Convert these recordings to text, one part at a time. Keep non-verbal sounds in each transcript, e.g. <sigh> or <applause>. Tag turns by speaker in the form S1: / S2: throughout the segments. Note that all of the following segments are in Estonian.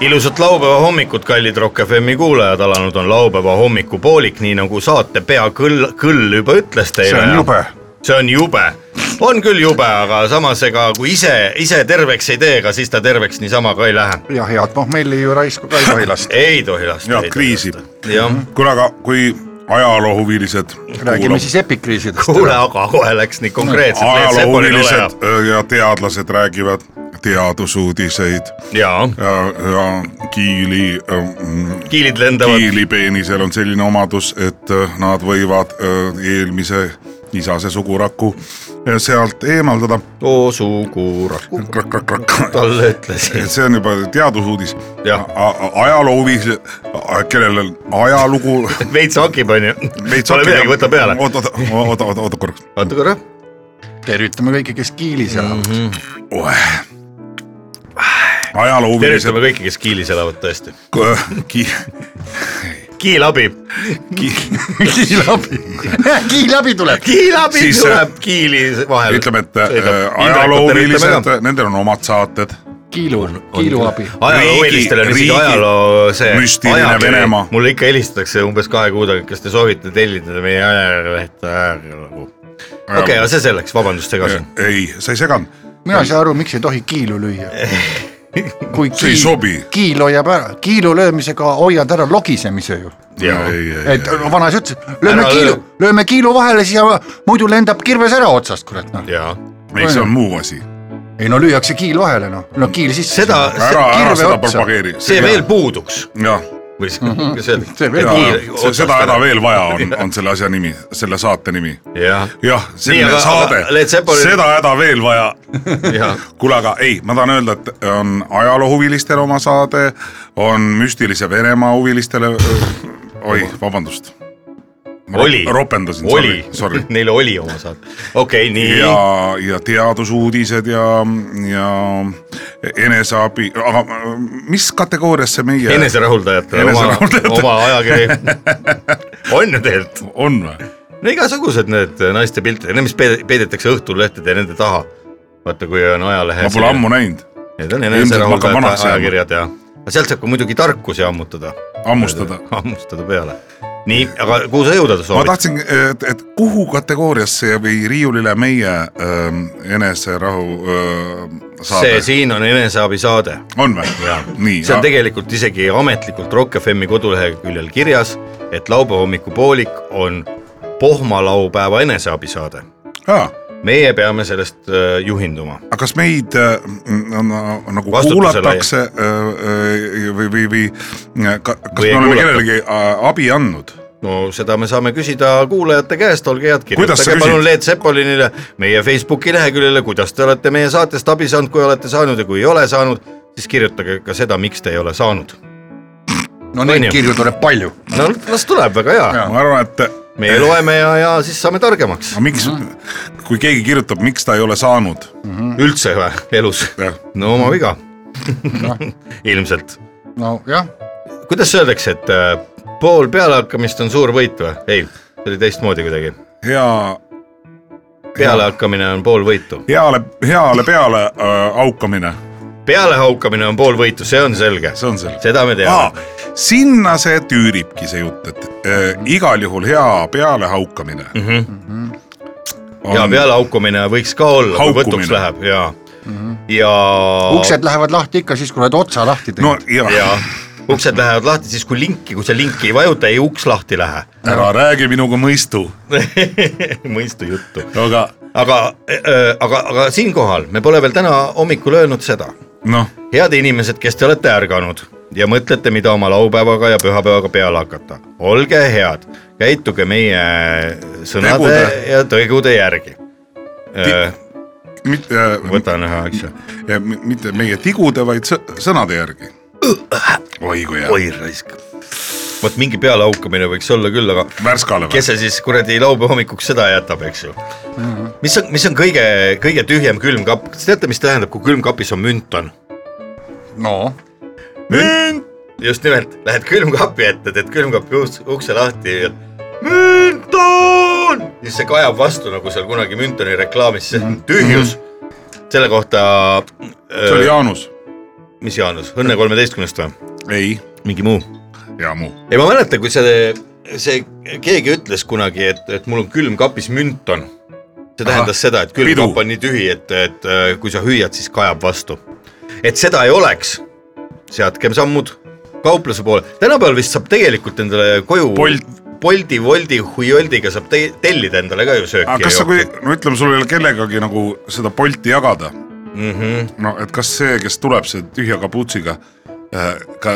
S1: ilusat laupäeva hommikut , kallid Rock FM-i kuulajad , alanud on laupäeva hommikupoolik , nii nagu saate peakõll , kõll juba ütles teile .
S2: See on jube. .
S1: see on jube , on küll jube , aga samas ega kui ise , ise terveks ei tee , ega siis ta terveks niisama ka ei lähe .
S2: ja head pohmelli ju raisku ka ei tohi lasta . Mhm.
S1: ei tohi lasta .
S3: Jah, kriisib.
S1: jah ,
S3: kuule , aga kui ajaloohuvilised .
S2: räägime siis epikriisidest .
S1: kuule , aga kohe läks nii konkreetselt .
S3: ajaloohuvilised ja teadlased räägivad teadusuudiseid
S1: jaa ,
S3: ja , ja kiili ,
S1: kiilid lendavad .
S3: kiilipeenisel on selline omadus , et äh, nad võivad äh, eelmise isase suguraku äh, sealt eemaldada .
S1: oo sugurakku , talle ütlesin .
S3: et see on juba teadusuudis
S1: Jah. .
S3: ajaloohuvilised , kellel on ajalugu
S1: veits hakib , onju .
S3: veits
S1: Pole midagi , võta peale .
S3: oota , oota , oota , oota korraks .
S1: oota korra .
S2: tervitame kõiki , kes Kiilis
S3: Mhm.
S2: elavad . <laughs>
S3: <laughs> ajaloohuvilised
S1: tervitame kõiki , kes kiilis elavad tõesti .
S3: ki,
S1: kiilabi
S3: ki,
S2: kiilabi , kiilabi tuleb .
S1: kiilabi
S3: Siis,
S1: tuleb kiili vahel .
S3: ütleme , et äh, ajaloohuvilised , nendel on omad saated .
S2: kiilu , kiiluabi .
S1: ajaloohuvilistel on
S3: riigi-
S1: isegi ajaloo see
S3: müstiline
S1: ajakiri.
S3: Venemaa.
S1: mulle ikka helistatakse umbes kahe kuu tagant , kas te soovite tellida meie ajalehte ajalugu . okei okay, , aga see selleks , vabandust , segasin .
S3: Äh, ei , sa ei seganud .
S2: mina ei saa aru , miks ei tohi kiilu
S3: <laughs>
S2: lüüa . kui
S3: See ei
S2: kiil-
S3: sobi.
S2: kiil hoiab ära , kiilu löömisega hoiad ära logisemise ju . et vanaisa ütles , lööme
S1: Ära
S2: kiilu
S1: löö. ,
S2: lööme kiilu vahele , siis jääb- muidu lendab kirves ära otsast , kurat noh .
S1: jaa ,
S3: ei , see on muu asi .
S2: ei no lüüakse kiil vahele noh , no kiil sisse .
S1: seda ,
S3: ära , ära
S2: kirve
S3: seda
S2: otsa.
S3: propageeri .
S1: see veel . puuduks
S3: jah ,
S1: või see ,
S3: Mhm.
S1: see,
S2: See veel
S1: see
S3: seda häda . veel vaja on ,
S1: <laughs>
S3: on selle asja nimi , selle saate nimi .
S1: jah ,
S3: jah ,
S1: Nii, aga-
S3: selline
S1: aga Led
S3: saade ,
S1: Zeppelin-
S3: seda häda veel vaja
S1: jah
S3: kuule , aga ei , ma tahan öelda , et on ajaloohuvilistel oma saade , on müstilise Venemaa huvilistele . oi , vabandust .
S1: oli ,
S3: ropendasin ,
S1: oli
S3: sorry ,
S1: <laughs>
S3: sorry .
S1: neil oli oma saade , okei okay, , nii
S3: ja , ja teadusuudised ja , ja eneseabi , aga mis kategooriasse meie
S1: eneserahuldajate oma ,
S3: Eneserahuldajate-
S1: oma
S3: <laughs>
S1: ajakiri on ju tegelikult .
S3: on või ?
S1: no igasugused need äh, naiste piltid , need , mis peede- peidetakse õhtulehtede ja nende taha . vaata , kui on ajalehe .
S3: ma pole ammu . näinud ,
S1: Need on
S3: Ilmselt ma hakkan
S1: eneserahuldajate
S3: vanaks jääma.
S1: ajakirjad ja , aga sealt saab ka muidugi tarkusi ammutada ,
S3: hammustada .
S1: <laughs> hammustada peale . nii , aga kuhu sa jõuda
S3: ma
S1: soovid ?
S3: tahtsin , et , et kuhu kategooriasse või riiulile meie ähm, eneserahu öö,
S1: see
S3: saade
S1: siin on eneseabisaade .
S3: on või ? nii ,
S1: see on tegelikult isegi ametlikult Rock FM-i koduleheküljel kirjas , et laupäeva hommikupoolik on pohmalaupäeva eneseabisaade .
S3: aa
S1: meie peame sellest äh, juhinduma .
S3: aga kas meid äh, m- on, äh, nagu
S1: Vastutusele
S3: kuulatakse äh, äh, või , või , või ka, kas
S1: Või
S3: või
S1: ei
S3: me oleme
S1: kuulata.
S3: kellelegi äh, abi andnud ?
S1: no seda me saame küsida kuulajate käest , olge head ,
S3: Kuidas
S1: kirjutage
S3: sa küsid?
S1: palun Leet Sepolinile meie Facebooki leheküljele , kuidas te olete meie saatest abi saanud , kui olete saanud ja kui ei ole saanud , siis kirjutage ka seda , miks te ei ole saanud .
S2: no neid
S1: onju.
S2: kirju tuleb palju .
S1: no las tuleb , väga hea ,
S3: ma arvan , et äh,
S1: meie loeme ja , ja siis saame targemaks
S3: aga miks ,
S1: Mhm.
S3: kui keegi kirjutab , miks ta ei ole saanud ,
S1: üldse või elus , no oma viga <laughs> ilmselt ,
S2: nojah ,
S1: kuidas öeldakse , et äh, pool pealehakkamist on suur võit või , ei , see oli teistmoodi kuidagi ,
S3: hea ,
S1: pealehakkamine on pool võitu ,
S3: heale , heale peale äh, aukamine ,
S1: pealehaukamine on pool võitu , see on selge ,
S3: see on selle .
S1: seda me teame
S3: Aa, sinna see tüüribki see jutt , et äh, igal juhul hea peale haukamine mm .
S1: Mhm.
S3: -hmm.
S1: ja pealehaukumine võiks ka olla , kui
S3: Haukumine. Mhm.
S1: võtuks läheb ja mm , -hmm. ja
S2: uksed lähevad lahti ikka siis , kui oled otsa lahti
S3: no
S2: teinud .
S3: ja,
S1: ja
S3: ja. ,
S1: uksed lähevad lahti siis , kui linki , kui sa linki ei vajuta , ei uks lahti lähe . <laughs>
S3: ära räägi minuga mõistu ,
S1: mõistu juttu ,
S3: aga
S1: aga , aga , aga siinkohal me pole veel täna hommikul öelnud seda ,
S3: noh
S1: head inimesed , kes te olete ärganud ja mõtlete , mida oma laupäevaga ja pühapäevaga peale hakata , olge head , käituge meie sõnade tegude.
S3: Tegude.
S1: ja tegude järgi . Äh,
S3: mitte ,
S1: võtan ühe asja .
S3: mitte meie tigude , vaid sõ- sõnade järgi . oi kui hea .
S1: oi raisk . vot mingi pealehaukamine võiks olla küll , aga
S3: Värskale või
S1: kes ? see siis kuradi laupäeva hommikuks seda jätab , eks ju mm .
S3: Mhm.
S1: -hmm. mis on , mis on kõige , kõige tühjem külmkapp , kas teate , mis tähendab , kui külmkapis on münt on ?
S2: no
S1: Äh. münt , just nimelt , lähed külmkapi ette , teed külmkapi uks- ukse lahti ja münt on ja siis see kajab vastu nagu seal kunagi Müntoni reklaamis , see on tühjus . selle kohta ,
S3: Mhm. see oli Jaanus .
S1: mis Jaanus , Õnne kolmeteistkümnest või ?
S3: ei ,
S1: mingi muu ?
S3: Jaamu .
S1: ei , ma mäletan , kui see , see , keegi ütles kunagi , et , et mul on külmkapis münt on . see tähendas seda , et külmkapp
S3: pidu.
S1: on nii tühi , et , et äh, kui sa hüüad , siis kajab vastu . et seda ei oleks , seadkem sammud kaupluse poole , tänapäeval vist saab tegelikult endale koju
S3: Bolt.
S1: Bolti , Woldi , Huioldiga saab te tellida endale ka ju sööki .
S3: aga kas sa , kui , no ütleme , sul ei ole kellegagi nagu seda Bolti jagada ,
S1: mm ? -hmm.
S3: no et kas see , kes tuleb , see tühja kapuutsiga , ka ,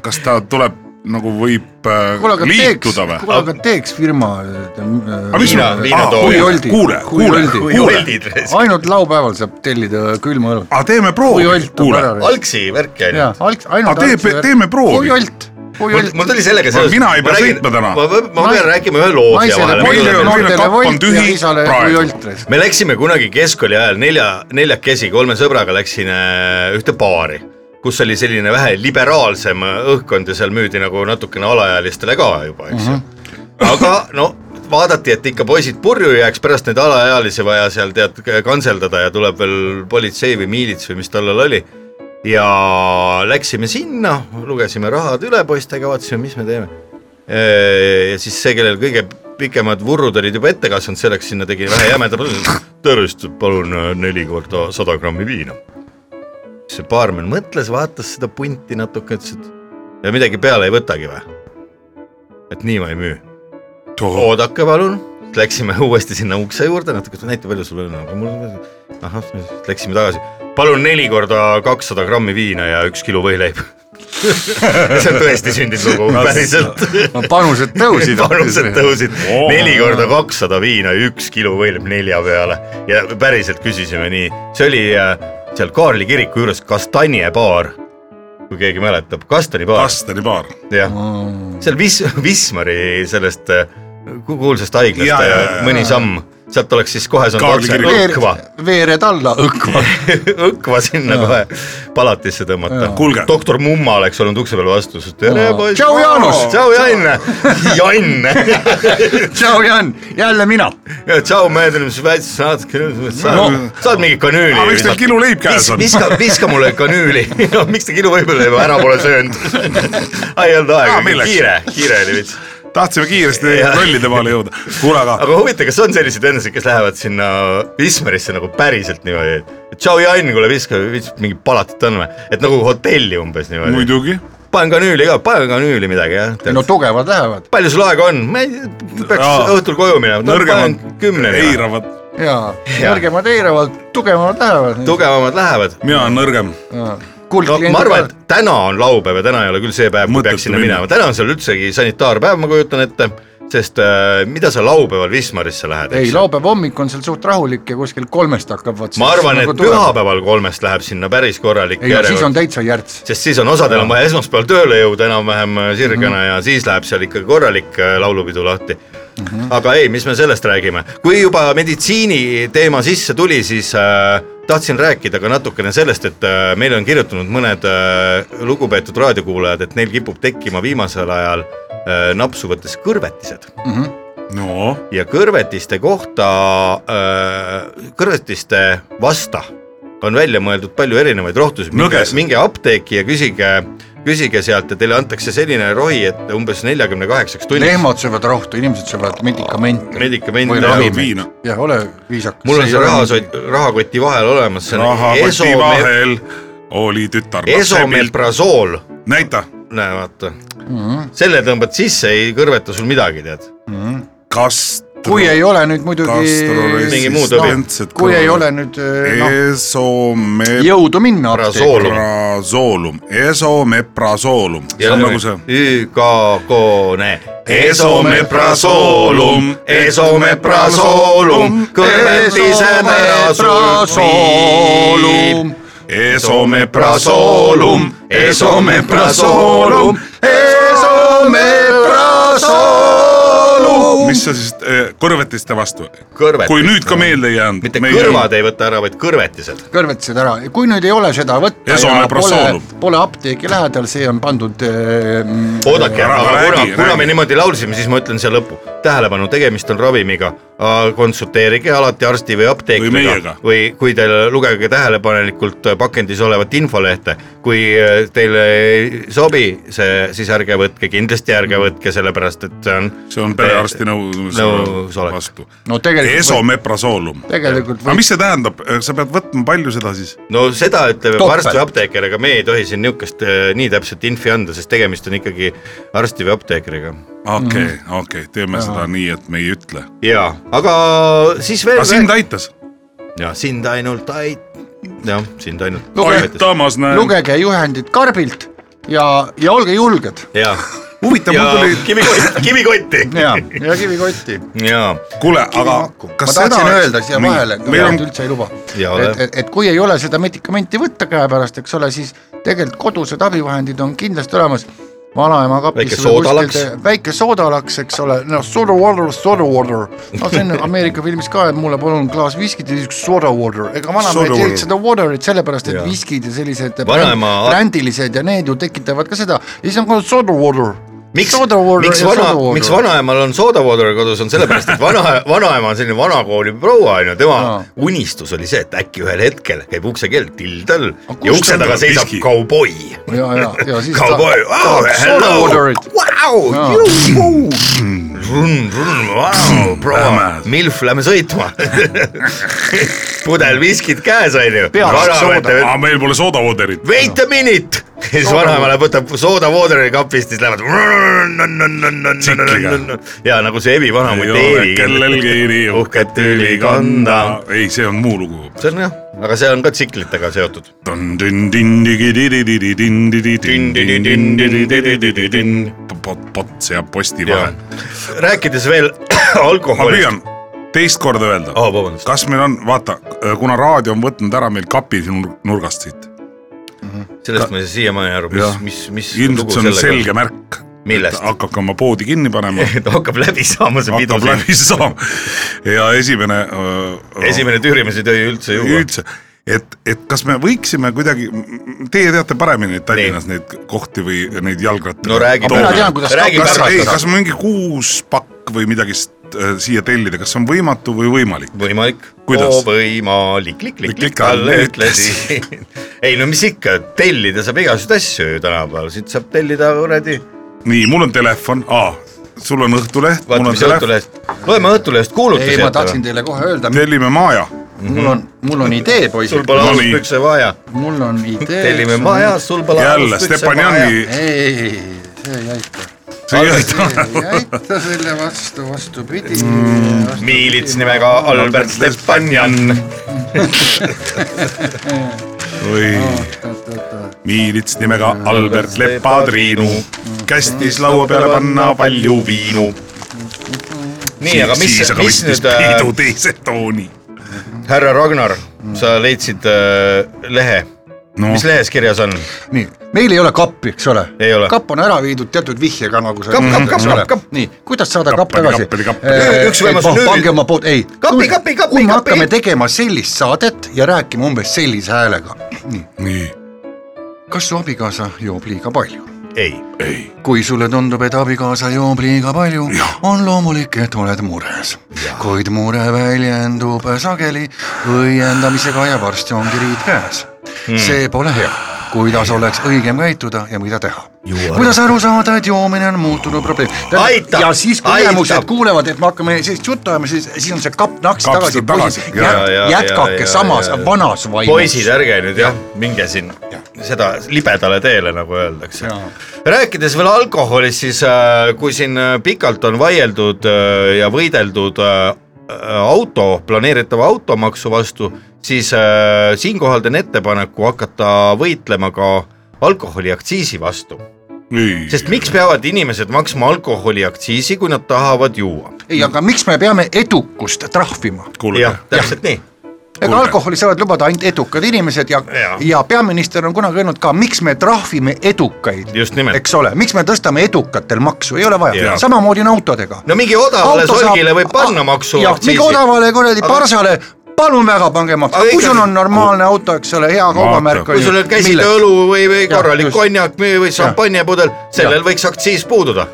S3: kas ta tuleb nagu võib äh,
S2: kuule , aga teeks ,
S3: liituda
S2: kuule ,
S3: või ?
S2: aga teeks firma . äh,
S3: aga mis
S1: Liina-
S3: sul-
S1: Liina
S3: aa,
S1: Toom.
S3: kui
S2: Huioldi.
S3: oldi , kuule , kuule ,
S2: Huioldi.
S3: kuule ,
S1: Huioldid ,
S2: ainult laupäeval saab tellida külma õlut .
S3: aga teeme proovi
S2: Kui olt , on
S3: kuule
S2: ära.
S1: algsi värk on ju
S2: jaa , ainult , ainult .
S3: Aga tee- teeme proovi.
S2: kui olt , kui
S1: mul
S2: olt .
S1: mul tuli sellega
S3: Ma- mina ei pea sõitma täna.
S1: ma , ma
S2: Nais-
S1: pean rääkima ühe loo siia
S2: naisele Bolt ,
S1: vahele .
S3: Meil on- meil on
S2: noortele
S3: kapp on
S2: Bolt ja
S3: tühi
S2: isale
S3: praegu.
S2: kui olt .
S1: <laughs> me läksime kunagi keskkooli ajal nelja , neljakesi kolme sõbraga läksin äh, ühte baari , kus oli selline vähe liberaalsem õhkkond ja seal müüdi nagu natukene alaealistele ka juba , eks ju mm -hmm. . aga no vaadati , et ikka poisid purju ei jääks , pärast neid alaealisi vaja seal tead kantseldada ja tuleb veel politsei või miilits või mis tollal oli . ja läksime sinna , lugesime rahad üle poistega , vaatasime , mis me teeme . Äh, ja siis see , kellel kõige pikemad vurrud olid juba ette kasvanud , see läks sinna , tegi vähe jämeda . tervist , palun äh, neli korda sada grammi viina . see baarmen mõtles , vaatas seda punti natuke , ütles , et ja midagi peale ei võtagi või ? et nii ma ei müü . oodake palun , läksime <laughs> uuesti sinna ukse juurde , natuke näita , palju sul on , aga mul on , ahah , läksime tagasi . palun neli korda kakssada grammi viina ja üks kilo võileiba . <laughs> see on tõesti sündinud lugu , päriselt .
S2: panused tõusid .
S1: <laughs> panused tõusid neli korda kakssada viina , üks kilo võilb nelja peale ja päriselt küsisime nii , see oli äh, seal Kaarli kiriku juures Kastanje baar , kui keegi mäletab , Kastani baar ,
S3: Asteri baar .
S1: jah , seal Vis- , Wismari sellest äh, ku- kuulsast haiglast
S3: Jaa,
S1: ja,
S3: jaa,
S1: ja,
S3: jaa.
S1: mõni samm , sealt oleks siis kohe saanud
S3: Kaarli
S1: otse
S3: kiriku-
S1: <laughs> Õkva ,
S2: veered alla
S1: <laughs>
S2: õkva .
S1: Õkva sinna kohe palatisse tõmmata
S3: Kuulge. .
S1: doktor Mumma oleks olnud ukse peal vastu , tere
S2: Jaa.
S1: poiss .
S2: Tšau, Jaanus!
S1: tšau ,
S3: <laughs>
S1: Jann , Jann . <laughs>
S2: tšau , Jan , jälle mina .
S1: ja tšau , meeldinud , mis väiksed saad , saad,
S3: No.
S1: saad mingi kanüüli .
S3: aga miks teil kiluleib käes on ?
S1: viska , <laughs> viska mulle kanüüli , <laughs> no miks te kilu võib-olla juba ära pole
S3: <laughs>
S1: söönud . ei olnud
S3: Aa,
S1: aega ,
S3: milleks?
S1: kiire , kiire oli veits .
S3: tahtsime kiiresti
S1: Jah.
S3: lollide peale jõuda . kuule , aga
S1: aga huvitav , kas on selliseid õnnesid , kes lähevad sinna Wismarisse nagu päriselt niimoodi , et tšau , Jann , kuule viska , viits mingi palatit on või , et nagu hotelli umbes niimoodi .
S3: muidugi ,
S1: panen kanüüli ka , panen kanüüli midagi jah
S2: no tugevad lähevad
S1: palju sul aega on , ma ei , peaks
S3: Aa.
S1: õhtul koju minema , panen
S3: nõrgemad
S1: kümneni .
S3: eiravad ,
S2: ja nõrgemad eiravad , tugevamad lähevad .
S1: tugevamad lähevad ,
S3: mina olen nõrgem .
S1: no ma arvan , et täna on laupäev ja täna ei ole küll see päev , kui
S3: Mõttetu
S1: peaks sinna
S3: minna.
S1: minema , täna on seal üldsegi sanitaarpäev , ma kujutan ette , sest äh, mida sa laupäeval Wismarisse lähed ,
S2: ei ,
S1: eks ju .
S2: laupäeva hommik on seal suht rahulik ja kuskil kolmest hakkab vot .
S1: ma arvan , et . pühapäeval kolmest läheb sinna päris korralik
S2: ei , siis on
S1: järjekord ,
S2: täitsa järts .
S1: sest siis on osadel on vaja esmaspäeval tööle jõuda enam-vähem äh, sirgena mm -hmm. ja siis läheb seal ikkagi korralik äh, laulupidu lahti mm . -hmm. aga ei , mis me sellest räägime , kui juba meditsiini teema sisse tuli , siis äh, tahtsin rääkida ka natukene sellest , et äh, meile on kirjutanud mõned äh, lugupeetud raadiokuulajad , et neil kipub tekkima viimasel ajal äh, napsu võttes kõrvetised
S3: no
S1: ja kõrvetiste kohta , kõrvetiste vasta on välja mõeldud palju erinevaid rohtusid , minge,
S3: Nõges.
S1: minge apteeki ja küsige , küsige sealt ja teile antakse selline rohi , et umbes neljakümne kaheksaks tunniks
S2: lehmad söövad rohtu , inimesed söövad medikamente .
S1: medikamente
S2: Või
S3: jood
S1: ravimid .
S3: viina ,
S2: jah , ole viisakas .
S1: mul on see rahasott , rahakoti vahel olemas , see on
S3: rahakoti
S1: esome-
S3: vahel oli tütar .
S1: esomeprasool ,
S3: näita ,
S1: näe vaata mm . -hmm. selle tõmbad sisse , ei kõrveta sul midagi , tead .
S3: kas
S2: kui ei ole nüüd muidugi ,
S1: Mingi muu tõbi.
S2: kui ei ole nüüd eh, noh ,
S3: esomeprasoolum ,
S2: jõudu minna apteeki ,
S1: Prasoolum
S3: esomeprasoolum , see
S1: ja
S3: on nagu see
S1: ÜKK-ne .
S3: Esomeprasoolum, esomeprasoolum,
S2: kõrvetised ära sul viib.
S3: esomeprasoolum , esomeprasoolum , esomeprasoolum . mis sa siis eh, kõrvetiste vastu ,
S1: Kõrvetiste.
S3: kui nüüd ka meelde ei jäänud .
S1: mitte kõrvad ei võta ära , vaid kõrvetised .
S4: kõrvetised ära , kui nüüd ei ole seda võtta
S3: Esone
S4: pole
S3: prosoolum. ,
S4: pole apteeki lähedal , see on pandud
S2: eh,
S4: äh,
S1: oodake ,
S3: Ära
S1: aga
S3: räägi,
S1: kuna , kuna
S3: räägi.
S1: me niimoodi laulsime , siis ma ütlen siia lõppu . tähelepanu , tegemist on ravimiga . konsulteerige alati arsti või
S3: Või
S1: apteekriga
S3: meiega.
S1: või kui teil , lugege tähelepanelikult pakendis olevat infolehte . kui äh, teile ei sobi see , siis ärge võtke , kindlasti ärge
S3: Mm.
S1: võtke , sellepärast et see on .
S3: see on perearsti nõusoleku
S1: Nõusolek.
S3: vastu
S4: No tegelikult võib-
S3: esomeprasoolum .
S4: tegelikult
S3: aga
S4: või...
S3: mis see tähendab , sa pead võtma palju seda siis ?
S1: no seda ütleb
S4: Topelt.
S1: arst või apteeker , aga me ei tohi siin niisugust äh, nii täpset infi anda , sest tegemist on ikkagi arsti või apteekriga .
S3: okei ,
S4: Mhm.
S3: okei , teeme seda nii , et me ei ütle .
S1: ja , aga siis veel
S3: aga . sind aitas ?
S1: ja sind ainult ait- , jah , sind ainult
S4: Lugege-
S3: aitamas näen .
S4: lugege juhendit karbilt ja , ja olge julged .
S1: ja ,
S3: huvitav ,
S1: ja
S3: mul tuli , <laughs>
S1: kivikotti , kivikotti .
S4: ja , ja kivikotti .
S1: ja ,
S3: kuule , aga
S4: ma
S3: kas
S4: tahtsin
S3: seda
S4: öelda siia vahele ,
S3: meil on
S4: üldse ei luba .
S1: Ja ole.
S4: et , et, et kui ei ole seda medikamenti võtta käepärast , eks ole , siis tegelikult kodused abivahendid on kindlasti olemas . vanaema kapis
S1: Väike soodalaks.
S4: te- väike soodalaks , eks ole , noh , soda water , soda water . no see on Ameerika filmis ka , et mulle palun klaas viskit ja siis üks soda water . ega vanaema
S3: Soda
S4: ei
S3: water.
S4: tee seda water'it sellepärast , et
S1: Jaa.
S4: viskid ja sellised
S1: Vanaema-
S4: bränd- brändilised ja need ju tekitavad ka seda . ja siis on ka soda water .
S1: miks , miks vana , miks vanaemal on soodavoodor kodus , on sellepärast , et vana , <laughs> vanaema on selline vanakooli proua onju , tema
S4: Jaa.
S1: unistus oli see , et äkki ühel hetkel käib ukse keel tildal
S4: kust
S1: ja ukse
S3: ta
S1: taga
S3: endale
S1: seisab
S3: piski?
S1: kauboi .
S4: ja , ja , ja siis
S1: kauboi , vau , hello ,
S4: Jaa.
S1: vau , juu , Oh. run , run , vau , proua , milf , lähme sõitma . pudel viskit käes onju .
S4: Peast sooda.
S3: aga meil pole soodavoderit .
S1: Wait a minute , siis vanaemale võtab soodavoodri kapist , siis lähevad . ja nagu see Evi vana
S3: ei
S1: muidu
S3: ole
S1: Eevi .
S3: kellelgi nii
S1: uhket tüüli kanda .
S3: ei , see on muu lugu .
S1: see on jah , aga see on ka tsiklitega seotud .
S3: pots ja posti vahel .
S1: rääkides veel <coughs>
S3: ma
S1: alkoholist .
S3: püüan teist korda öelda
S1: aa , vabandust .
S3: kas meil on , vaata , kuna raadio on võtnud ära meil kapi nur- nurgast siit ,
S1: sellest ma ei saa siiamaani aru , mis
S3: Jah. ,
S1: mis , mis
S3: ilmselt see on selge . märk , et
S1: millest ?
S3: hakake oma poodi kinni
S1: <laughs>
S3: panema ,
S1: hakkab läbi saama see pidu
S3: hakkab . läbi saama ja esimene .
S1: esimene tüürimees ei tohi üldse juua .
S3: üldse , et , et kas me võiksime kuidagi , teie teate paremini neid Tallinnas neid kohti või neid jalgrattaid .
S1: no räägi .
S4: Aga mina tean, kuidas
S1: räägi
S3: kas , ei ,
S1: targatada .
S3: kas mingi kuus pakk või midagi s- äh, siia tellida , kas see on võimatu või võimalik ?
S1: võimalik .
S3: Kuidas?
S1: võimalik , klikk-klikk , klikk ,
S3: Klikk, klikk,
S1: talle
S3: alla
S1: ütlesin . <laughs> ei no mis ikka , tellida saab igasuguseid asju ju tänapäeval , siit saab tellida kuradi ,
S3: nii , mul on telefon , aa , sul on Õhtuleht , mul
S1: vaata
S3: on
S1: mis
S3: telefon ,
S1: Õhtulehest , loeme Õhtulehest kuulutusi
S4: ei , ma tahtsin . teile kohe öelda ,
S3: tellime maja ,
S4: mul on , mul on idee ,
S1: Mhm. sul
S4: poisid ,
S1: pole
S3: No nii.
S1: aluspükse vaja ,
S4: mul on idee .
S1: tellime maja , sul pole
S3: jälle Stepanjani ,
S4: ei , see ei aita ,
S3: see ei aita .
S4: ei aita selle vastu , vastupidi .
S1: Mm. miilits nimega Albert Stepanjan .
S3: <laughs> oi , miilits nimega Albert Lepadriinu , kästis laua peale panna palju viinu .
S1: nii , aga mis
S3: siis , aga
S1: mis
S3: võttis
S1: nüüd äh, ,
S3: Priidu teise tooni .
S1: härra Ragnar , sa leidsid äh, lehe ,
S3: no
S1: mis lehes kirjas on ?
S4: nii , meil ei ole kappi , eks ole
S1: Ei ole.
S4: kapp on ära viidud teatud vihjega nagu see .
S1: Kapp, kapp, kapp, kapp, kapp.
S4: nii , kuidas saada kapp
S3: Kappeli,
S4: tagasi
S3: kappeli, kappeli.
S4: Eh,
S1: Üks võimalus on
S4: eh,
S1: lüüa.
S4: pange oma pood , ei .
S1: Kappi, kappi, kappi,
S4: kui me
S1: kappi.
S4: hakkame tegema sellist saadet ja rääkima umbes sellise häälega , nii ,
S3: nii ,
S4: kas su abikaasa joob liiga palju ?
S1: ei ,
S3: ei ,
S4: kui sulle tundub , et abikaasa joob liiga palju , on loomulik , et oled mures . kuid mure väljendub sageli õiendamisega ja varsti ongi riid käes hmm. . see pole hea , kuidas oleks õigem käituda ja mida teha . kuidas aru saada , et joomine on muutunud probleem .
S1: Aitab!
S4: ja siis , kui
S1: Aitab!
S4: ülemused kuulevad , et me hakkame sellist juttu ajama , siis , siis on see kapp naks
S3: Kapp
S4: tagasi
S3: tuleb tagasi. . Ja,
S1: ja, ja,
S4: jätkake
S1: ja,
S4: samas
S1: ja, ja.
S4: vanas vaimus .
S1: poisid , ärge nüüd jah , minge siin seda libedale teele , nagu öeldakse . rääkides veel alkoholist , siis äh, kui siin äh, pikalt on vaieldud äh, ja võideldud äh, auto , planeeritava automaksu vastu , siis äh, siinkohal teen ettepaneku hakata võitlema ka alkoholiaktsiisi vastu ,
S3: ei
S1: sest . miks peavad inimesed maksma alkoholiaktsiisi , kui nad tahavad juua ?
S4: ei , aga miks me peame edukust trahvima ?
S3: kuulge
S1: jah ,, täpselt nii .
S4: ega
S3: Kuulge.
S4: alkoholi saavad lubada ainult edukad inimesed ja, ja.
S1: Jaa. ,
S4: ja peaminister on kunagi öelnud ka , miks me trahvime edukaid .
S1: Just nimelt.
S4: eks ole , miks me tõstame edukatel maksu , ei ole vaja
S1: Jaa. ,
S4: samamoodi on autodega .
S1: no mingi odavale solgile võib panna maksu .
S4: Ah, jah , mingi odavale kuradi
S1: Aga-
S4: parsale , palun väga , pange maksu
S1: Aga ,
S4: kui sul
S1: ikka-
S4: on normaalne auto , eks ole , hea kaubamärk
S3: Vaata.
S1: kui sul on käsitöö õlu või , või
S4: Jah,
S1: korralik
S4: just.
S1: konjak või või šampanjapudel , sellel võiks aktsiis puududa .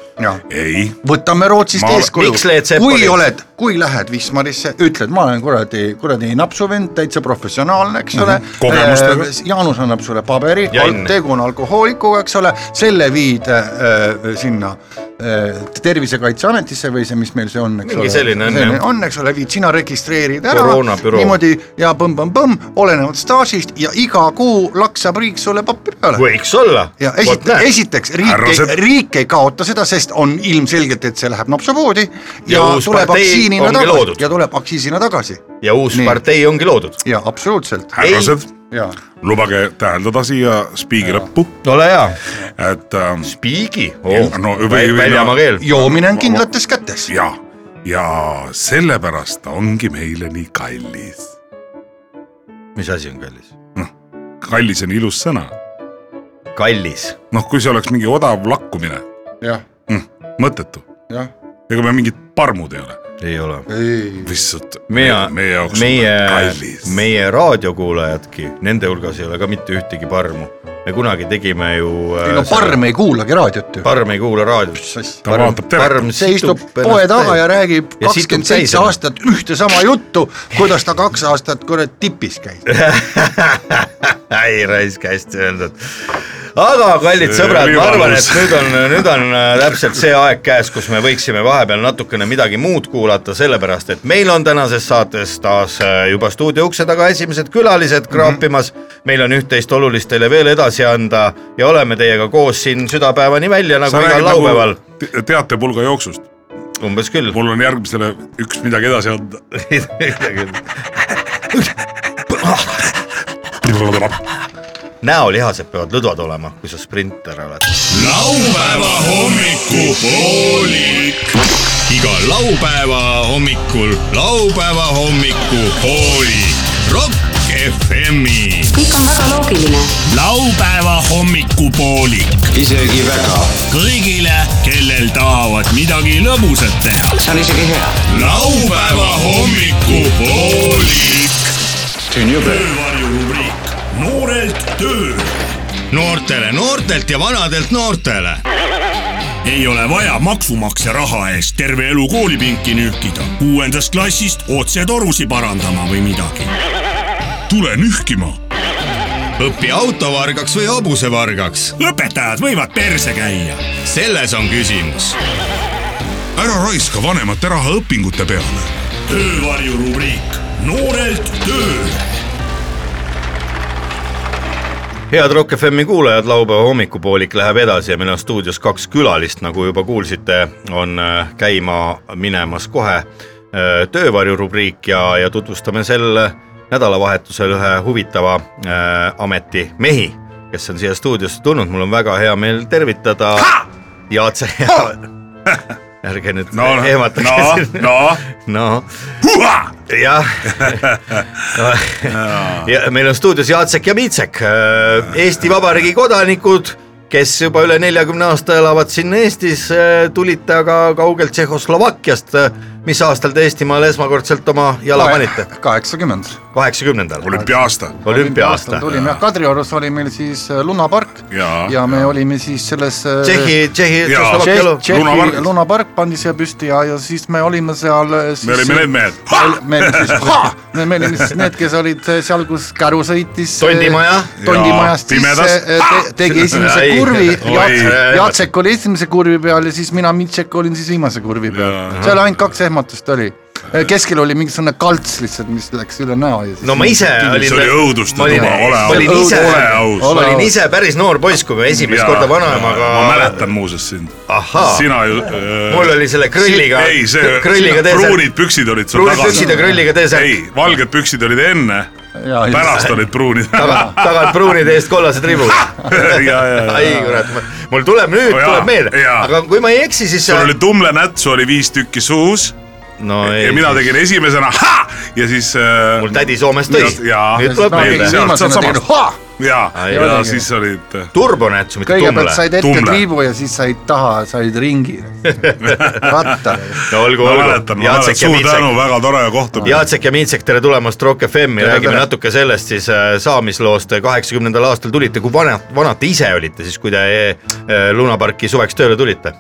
S3: ei ,
S4: võtame Rootsist
S3: Ma-
S4: eeskuju
S1: Miks Led , Zeppelin?
S4: kui oled , kui lähed Wismarisse , ütled , ma olen kuradi , kuradi napsuvend , täitsa professionaalne , eks ole mm .
S3: Kogemustega.
S4: Jaanus annab sulle paberi
S1: Mhm. Ja , õnne.
S4: tegu on alkohoolikuga , eks ole , selle viid äh, sinna äh, Tervisekaitseametisse või see , mis meil see on , eks
S1: Mingi
S4: ole .
S1: selline on, jah.
S4: on , eks ole , viid sina registreerid ära
S1: Koroonabüroo.
S4: niimoodi ja põmm-põmm-põmm , olenevalt staažist ja iga kuu laksab riik sulle pappi peale
S1: võiks olla .
S4: ja esit- , esiteks riik
S3: Härrased. ,
S4: riik ei kaota seda , sest on ilmselgelt , et see läheb napsupoodi ja,
S1: Ja
S4: ja
S1: uus
S4: tuleb
S1: partei
S4: aktsiinina
S1: ongi
S4: tagasi
S1: loodud.
S4: ja tuleb aktsiisina tagasi
S1: ja uus
S4: Nii.
S1: partei ongi loodud .
S4: ja absoluutselt
S3: härrased ,
S4: ja
S3: lubage täheldada siia spiigi lõppu ,
S1: ole hea .
S3: et ähm,
S1: Spiigi
S3: No,
S1: oh.
S3: või- , või-
S1: väljamaa keel .
S4: joomine on kindlates kätes .
S3: ja , ja sellepärast ta ongi meile nii kallis .
S1: mis asi on kallis ?
S3: kallis on ilus sõna ,
S1: kallis .
S3: noh , kui see oleks mingi odav lakkumine
S4: jah ,
S3: mm, , mõttetu ,
S4: jah ,
S3: ega me mingid parmud ei ole ,
S1: ei ole .
S4: ei ,
S3: lihtsalt
S1: meie ,
S3: meie jaoks
S1: meie
S3: on ta kallis ,,
S1: meie raadiokuulajadki , nende hulgas ei ole ka mitte ühtegi parmu . me kunagi tegime ju .
S4: ei no parm ei kuulagi raadiot ju .
S1: parm ei kuula raadiot .
S4: see
S3: ta vaatab telekat ,
S4: istub poe taga ja räägib
S1: Ja situb
S4: kakskümmend seitse
S1: täisena.
S4: aastat ühte sama juttu , kuidas ta kaks aastat kurat tipis käis .
S1: <laughs> ei raisk , hästi öeldud . aga kallid
S3: See
S1: sõbrad ,
S3: oli
S1: ma arvan ,
S3: valus.
S1: et nüüd on , nüüd on äh, täpselt see aeg käes , kus me võiksime vahepeal natukene midagi muud kuulata , sellepärast et meil on tänases saates taas äh, juba stuudio ukse taga esimesed külalised kraapimas .
S3: Mhm.
S1: meil on üht-teist olulist teile veel edasi anda ja oleme teiega koos siin südapäevani välja nagu
S3: sa
S1: igal
S3: räägid
S1: laupäeval
S3: nagu , te- teatepulga jooksust ,
S1: umbes küll .
S3: mul on järgmisele üks midagi edasi anda .
S1: <laughs> näolihased peavad lõdvad olema , kui sa sprinter oled .
S5: laupäeva hommikupoolik . iga laupäeva hommikul laupäeva hommikupoolik . Rock FM-i
S6: kõik on väga loogiline .
S5: laupäeva hommikupoolik
S7: isegi väga .
S5: kõigile , kellel tahavad midagi lõbusat teha .
S7: see on isegi hea .
S5: laupäeva hommikupoolik .
S7: see on jube .
S5: töövarjurubriik Noorelt tööle . noortele noortelt ja vanadelt noortele . ei ole vaja maksumaksja raha eest terve elu koolipinki nühkida , kuuendast klassist otse torusi parandama või midagi . tule nühkima .
S1: õpi autovargaks või hobusevargaks ,
S5: õpetajad võivad perse käia .
S1: selles on küsimus .
S3: ära raiska vanemate raha õpingute peale .
S5: töövarjurubriik Noorelt tööle .
S1: head Rock FM-i kuulajad , laupäeva hommikupoolik läheb edasi ja meil on stuudios kaks külalist , nagu juba kuulsite , on äh, käima minemas kohe äh, töövarjurubriik ja , ja tutvustame sel nädalavahetusel ühe huvitava äh, ameti mehi , kes on siia stuudiosse tulnud , mul on väga hea meel tervitada Jaatse <laughs> ärge nüüd no,
S3: no , no
S1: <laughs> ehmatage ,,
S3: no ,
S1: noh , jah ja meil on stuudios Jacek ja Micek , Eesti Vabariigi kodanikud , kes juba üle neljakümne aasta elavad siin Eestis , tulite aga kaugelt Tšehhoslovakkiast . mis aastal te Eestimaale esmakordselt oma jala panite ?
S4: kaheksakümmend .
S1: kaheksakümnendal ,
S3: olümpiaasta
S1: olümpia-aasta .
S4: tulime jah , Kadriorus oli meil siis äh, lunapark
S3: Jaa.
S4: ja me olime siis selles äh,
S1: Tšehhi , Tšehhi ,
S3: Jaa.
S1: Tšehhoslovakkia elu
S4: Tšehh- . Tšehhi
S3: Lunapark.
S4: lunapark pandi siia püsti ja , ja siis me olime seal eh, siis,
S3: me olime need mehed .
S4: <laughs> me ol- me olime siis , me me olime siis need , kes olid eh, seal , kus käru sõitis .
S1: Tondimaja.
S4: tondimajast
S3: Jaa,
S4: sisse
S3: pimedas.
S4: eh, te, , tegi esimese
S1: Ei,
S3: <laughs>
S4: kurvi
S1: oi. ,
S4: Jacek oli esimese kurvi peal ja siis mina , Mitsek olin siis viimase kurvi peal
S3: Jaa. .
S4: seal ainult kaks ehmatust oli . keskel oli mingisugune kalts lihtsalt , mis läks üle näo ja siis
S1: no ma ise olin .
S3: see oli õuduste tuba , ole
S1: olin
S3: aus ,
S1: ise ,
S3: ole aus .
S4: Ole
S1: olin
S4: aus.
S1: ise päris noor poiss , kui me esimest korda
S3: ma
S1: vanaemaga .
S3: mäletan muuseas sind .
S1: ahhaa ,
S3: sina ju .
S1: mul oli selle krõlliga
S3: ei , see ,
S1: krõlliga teesel
S3: pruunid püksid olid sul
S1: pruunid püksid ja
S3: taga .
S1: krõlliga teesel
S3: ei , valged püksid olid enne ,
S4: Jaa, just.
S3: pärast olid pruunid . <laughs>
S1: tagant , tagant pruunide eest kollased ribud .
S3: ja , ja ,
S1: ai
S3: ja .
S1: kurat , mul tuleb nüüd ,
S3: No jaa,
S1: tuleb meelde ,
S3: jaa.
S1: aga kui ma ei eksi , siis
S3: sul oli tumle nätsu oli viis tükki suus
S1: no ei
S3: ja . mina tegin esimesena ha! ja siis äh,
S1: mul tädi Soomest tõi .
S3: jaa.
S1: nüüd tuleb
S3: No,
S1: meelde
S3: keegi
S1: no, .
S3: sealt
S4: viimasena teinud
S3: samast.
S4: ha!
S3: ja ,
S1: Ai,
S3: ja
S1: oligi.
S3: siis olid äh,
S1: turbonätsu , mitte
S4: kõigepealt
S1: tumble .
S4: said ette
S3: Tumble.
S4: triibu ja siis said taha , said
S3: <laughs>
S4: ringi rattale .
S1: no olgu ,
S3: ma
S1: olgu
S3: mäletan ,. ma mäletan ,
S1: Jacek ja
S3: suur
S1: Miitsek ,
S3: tänu , väga tore kohtumine .
S1: Jacek ja Miitsek , tere tulemast Rock FM-i ,
S4: Tere,
S1: räägime
S4: tere.
S1: natuke sellest siis äh, saamisloost . kaheksakümnendal aastal tulite , kui vanad , vanad te ise olite siis , kui te äh, Lunaparki suveks tööle tulite ?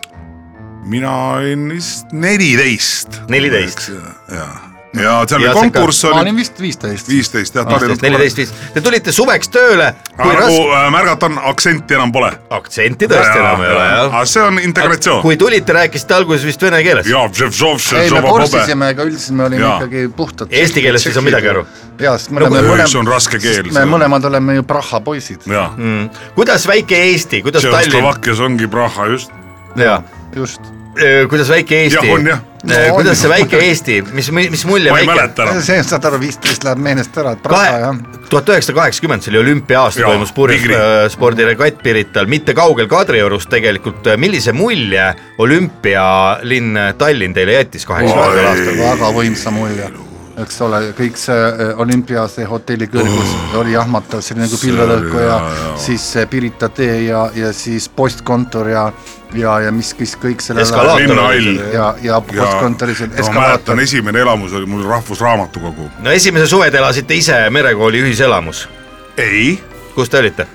S3: mina olin vist neliteist .
S1: 14. .
S3: ja , ja seal
S1: Ja
S3: oli
S1: see ka-
S3: konkurss
S4: ma
S3: oli
S4: olin vist viisteist .
S3: viisteist jah ,
S1: aastast neliteist , viis , te tulite suveks tööle , kui
S3: aga
S1: raske ,
S3: nagu äh, märgata on , aktsenti enam pole .
S1: aktsenti tõesti enam ei ole jah .
S3: aga see on integratsioon .
S1: kui tulite , rääkisite alguses vist vene keeles .
S4: ei , me korsisime , aga üldiselt me olime
S3: Jaa.
S4: ikkagi puhtad .
S1: Eesti keelest ei saa midagi aru. .
S4: jaa , sest me oleme
S3: kui-
S4: mõlemad .
S3: see on raske keel, see
S4: me
S3: on.
S4: mõlemad oleme ju Praha poisid .
S3: jah ,
S1: kuidas väike Eesti , kuidas Mm. Tallinn ,
S3: Tšehhoslovakkias ongi Praha just .
S1: jaa ,
S4: just .
S1: kuidas väike Eesti Äh,
S3: Jah, on, jah. ,
S1: kuidas see väike Eesti , mis , mis mulje
S3: ma ei
S1: väike ,
S3: mäleta enam .
S4: see , saad aru , viisteist läheb meelest ära , et Praha
S1: kahe
S4: jah .,
S1: tuhat üheksasada kaheksakümmend , see oli olümpia-aasta ,
S3: Jaa,
S1: toimus purjus
S3: Digri.
S1: äh, spordiregatt Pirital , mitte kaugel Kadriorust tegelikult , millise mulje olümpialinn Tallinn teile jättis kaheksakümnendal aastal ?
S4: väga võimsa mulje , eks ole , kõik see äh, Olympia see hotelli kõrgus uh, oli jahmatav , selline nagu pilvelõhku ja siis see Pirita tee ja , ja siis postkontor ja , ja , ja mis , mis kõik selle
S1: Eskalaator.
S3: linnahall .
S4: ja , ja postkontoris on
S3: ma mäletan ,
S4: eskalaator .
S3: esimene elamus oli mul Rahvusraamatukogu .
S1: no esimese suve te elasite ise Merekooli ühiselamus ,
S3: ei ,
S1: kus te olite ?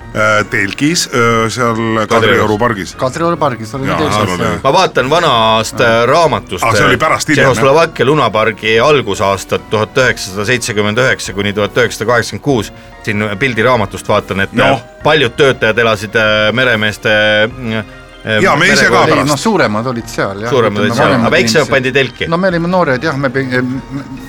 S3: telgis öö, seal Kadrioru pargis .
S4: Kadrioru pargis olime
S3: Jaa,
S4: teisel
S3: Arnold oli.
S4: seal .
S1: ma vaatan vanast äh, raamatust
S3: Ah, see oli pärast hiljem, jah.
S1: Tšehhoslovakkia lunapargi algusaastat tuhat üheksasada seitsekümmend üheksa kuni tuhat üheksasada kaheksakümmend kuus . siin pildiraamatust vaatan , et
S3: Noh.
S1: äh, paljud töötajad elasid äh, meremeeste äh,
S3: Jaa, me ise ka
S1: merekooli-
S4: ei
S3: pärast.
S4: noh , suuremad olid seal jah .
S1: suuremad olid seal , aga väiksemad pandi telki
S4: no me olime noored jah , me ,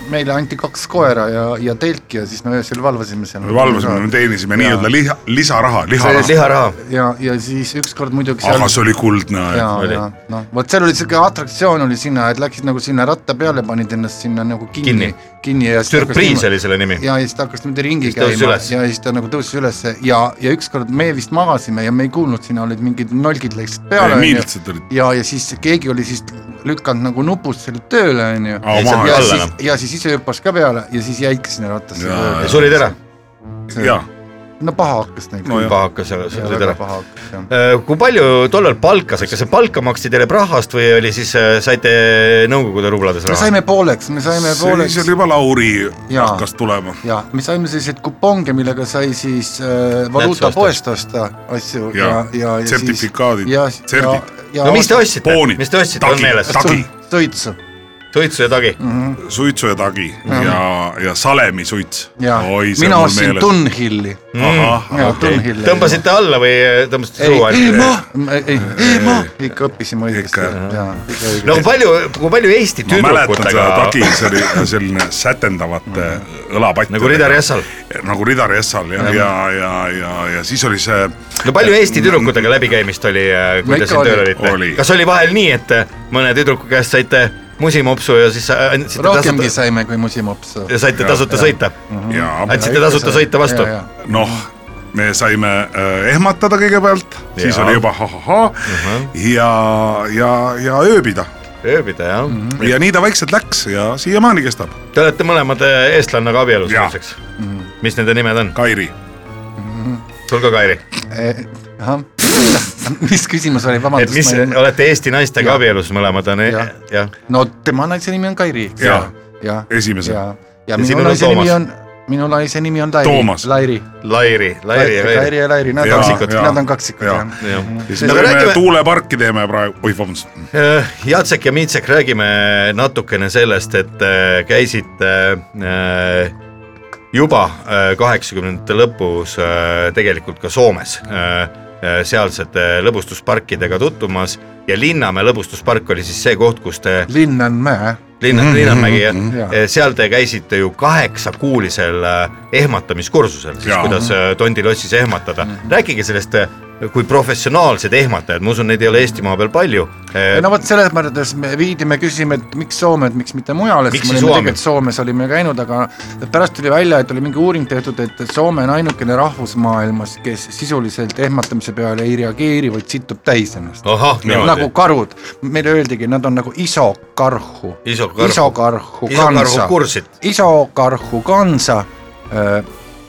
S4: meile anti kaks koera ja , ja telki ja siis me öösel valvasime seal .
S3: me valvasime , me teenisime nii-öelda liha , lisaraha ,
S1: no, .
S3: liharaha .
S1: liharaha ,
S4: ja , ja siis ükskord muidugi seal
S3: aga . see oli kuldne aeg .
S4: ja ,
S1: oli.
S4: ja noh , vot seal oli siuke atraktsioon oli sinna , et läksid nagu sinna ratta peale , panid ennast sinna nagu kinni
S1: Kinni. ,
S4: kinni ja .
S1: sürpriis oli selle nimi .
S4: ja , ja siis ta hakkas niimoodi ringi
S1: Siis tõusis
S4: käima ja
S1: üles.
S4: siis ta nagu tõusis ülesse ja , ja ükskord me vist magasime ja me ei kuulnud , sinna olid mingid nolgid läksid peale .
S3: miilitsad olid. .
S4: ja , ja siis keegi oli siis lükanud nagu nupust selle tööle onju .
S3: Aa,
S1: Ei, see on
S3: maha
S4: ja
S1: alla nagu.
S4: siis
S1: enam. ,
S4: ja siis ise hüppas ka peale ja siis jäidki sinna rattasse
S3: Jaa,
S4: tööle .
S1: surid ära ,
S3: jaa ,
S4: no paha hakkas neil
S3: No
S4: küll.
S3: jah.
S1: paha hakkas , aga
S4: Jaa,
S1: surid
S4: väga
S1: ära .
S4: paha hakkas jah .
S1: kui palju tollal palka sai , kas see palka maksti teile Prahast või oli siis , saite Nõukogude rublades
S4: me
S1: raha ?
S4: saime pooleks , me saime pooleks
S3: siis . oli juba Lauri
S4: Jaa.
S3: hakkas tulema .
S4: ja me saime selliseid kuponge , millega sai siis äh, valuutapoest osta asju ja , ja
S3: Jaa. ,
S4: ja, ja
S3: Sertifikaadid.
S4: ja , ja
S3: Serdid. ,
S4: ja
S1: no mis te ostsite
S3: Poonid. ,
S1: mis te ostsite , on
S3: Tagi.
S1: meeles ?
S3: Ta- tagi? Mm.
S4: suitsu
S1: suitsu ja tagi .
S3: suitsu ja tagi ja , ja salemisuits .
S4: ja mina ostsin . Tunhilli . ja
S3: ahah ,
S4: Tunhilli .
S1: tõmbasite alla või äh, tõmbasite
S4: ei
S1: suu ,
S4: ei
S1: alt ?
S4: ma , ei , ei ma ikka õppisime õigesti
S3: Ikka,
S4: ja .
S1: no kui palju , kui palju Eesti
S3: ma mäletan seda tagi
S1: tüdrukutega ,,
S3: see oli selline sätendavate õlapattidega .
S1: nagu Ridar . Jessal ,
S3: nagu Ridar Jessal ja , ja , ja , ja , ja siis oli see .
S1: no palju Eesti tüdrukutega läbikäimist oli , kui
S4: No
S1: te
S4: ikka
S1: siin tööl
S4: oli.
S1: olite
S3: Äh, Oli. ?
S1: kas oli vahel nii , et äh, mõne tüdruku käest saite musimopsu ja siis äh, andsite
S4: rohkemgi
S1: tasuta ,
S4: saime kui musimops .
S1: saite tasuta sõita ?
S3: jaa ,
S1: andsite tasuta sõita vastu ?
S3: noh , me saime äh, ehmatada kõigepealt , siis
S1: Jaa.
S3: oli juba ha-ha-ha ja , ja , ja ööbida
S1: ööbida jah mm .
S4: Mhm.
S1: -hmm.
S3: ja nii ta vaikselt läks ja siiamaani kestab .
S1: Te olete mõlemad eh, eestlannaga abielus
S3: Jaa.
S1: nüüdseks .
S4: Mhm.
S1: mis nende nimed on ?
S3: Kairi ,
S1: sul ka Kairi ,
S4: E, ahah , <laughs> mis küsimus oli ,
S1: et mis
S4: vabandust , ma ei .
S1: olete Eesti naistega
S4: Jaa.
S1: abielus mõlemad on e-
S4: Jah.
S1: jah ,
S4: no tema naise nimi on Kairi , eks
S3: Jaa.
S4: ole . ja ,
S3: Esimese.
S4: ja , ja
S1: sinul
S4: minu
S1: on
S4: naise nimi
S1: Toomas.
S4: on , minu naise nimi on Lairi .
S3: Toomas.
S4: Lairi .
S1: Lairi , Lairi ja
S4: Lairi
S1: Kairi .
S4: ja Lairi , nad
S3: Jaa,
S4: on kaksikud ,
S3: jaa.
S4: nad on kaksikud
S3: Jaa.
S4: jah .
S3: siis
S1: Aga
S3: me teeme
S1: räägime-
S3: tuuleparki teeme praegu , oih vabandust ,
S1: Eh, Jacek ja Mitsek , räägime natukene sellest , et eh, käisite eh, juba eh, kaheksakümnendate lõpus eh, tegelikult ka Soomes eh, eh, sealsete lõbustusparkidega tutvumas ja Linnamäe lõbustuspark oli siis see koht , kus te
S4: Mhm, Linnanmäe ,
S1: linna , Linnamägi jah Eh,
S4: jaa. ,
S1: seal te käisite ju kaheksakuulisel äh, ehmatamiskursusel , siis
S3: Jaa.
S1: kuidas äh, Tondi lossis ehmatada . rääkige sellest äh, kui professionaalsed ehmatajad , ma usun , neid ei ole Eestimaa peal palju . eh,
S4: no vot selles mõttes me viidi , me küsime , et miks Soome , et miks mitte mujal , et
S1: Miks
S4: siis me
S1: siis
S4: olime
S1: Soome?
S4: tegelikult Soomes olime käinud , aga pärast tuli välja , et oli mingi uuring tehtud , et Soome on ainukene rahvus maailmas , kes sisuliselt ehmatamise peale ei reageeri , vaid situb täis ennast .
S1: ahah ,
S4: nagu
S1: niimoodi .
S4: karud , meile öeldigi , nad on nagu isokarhu ,
S1: Isokarhu.
S4: isokarhu
S1: isokarhu
S4: kansa ,
S1: kursid .
S4: isokarhu kansa .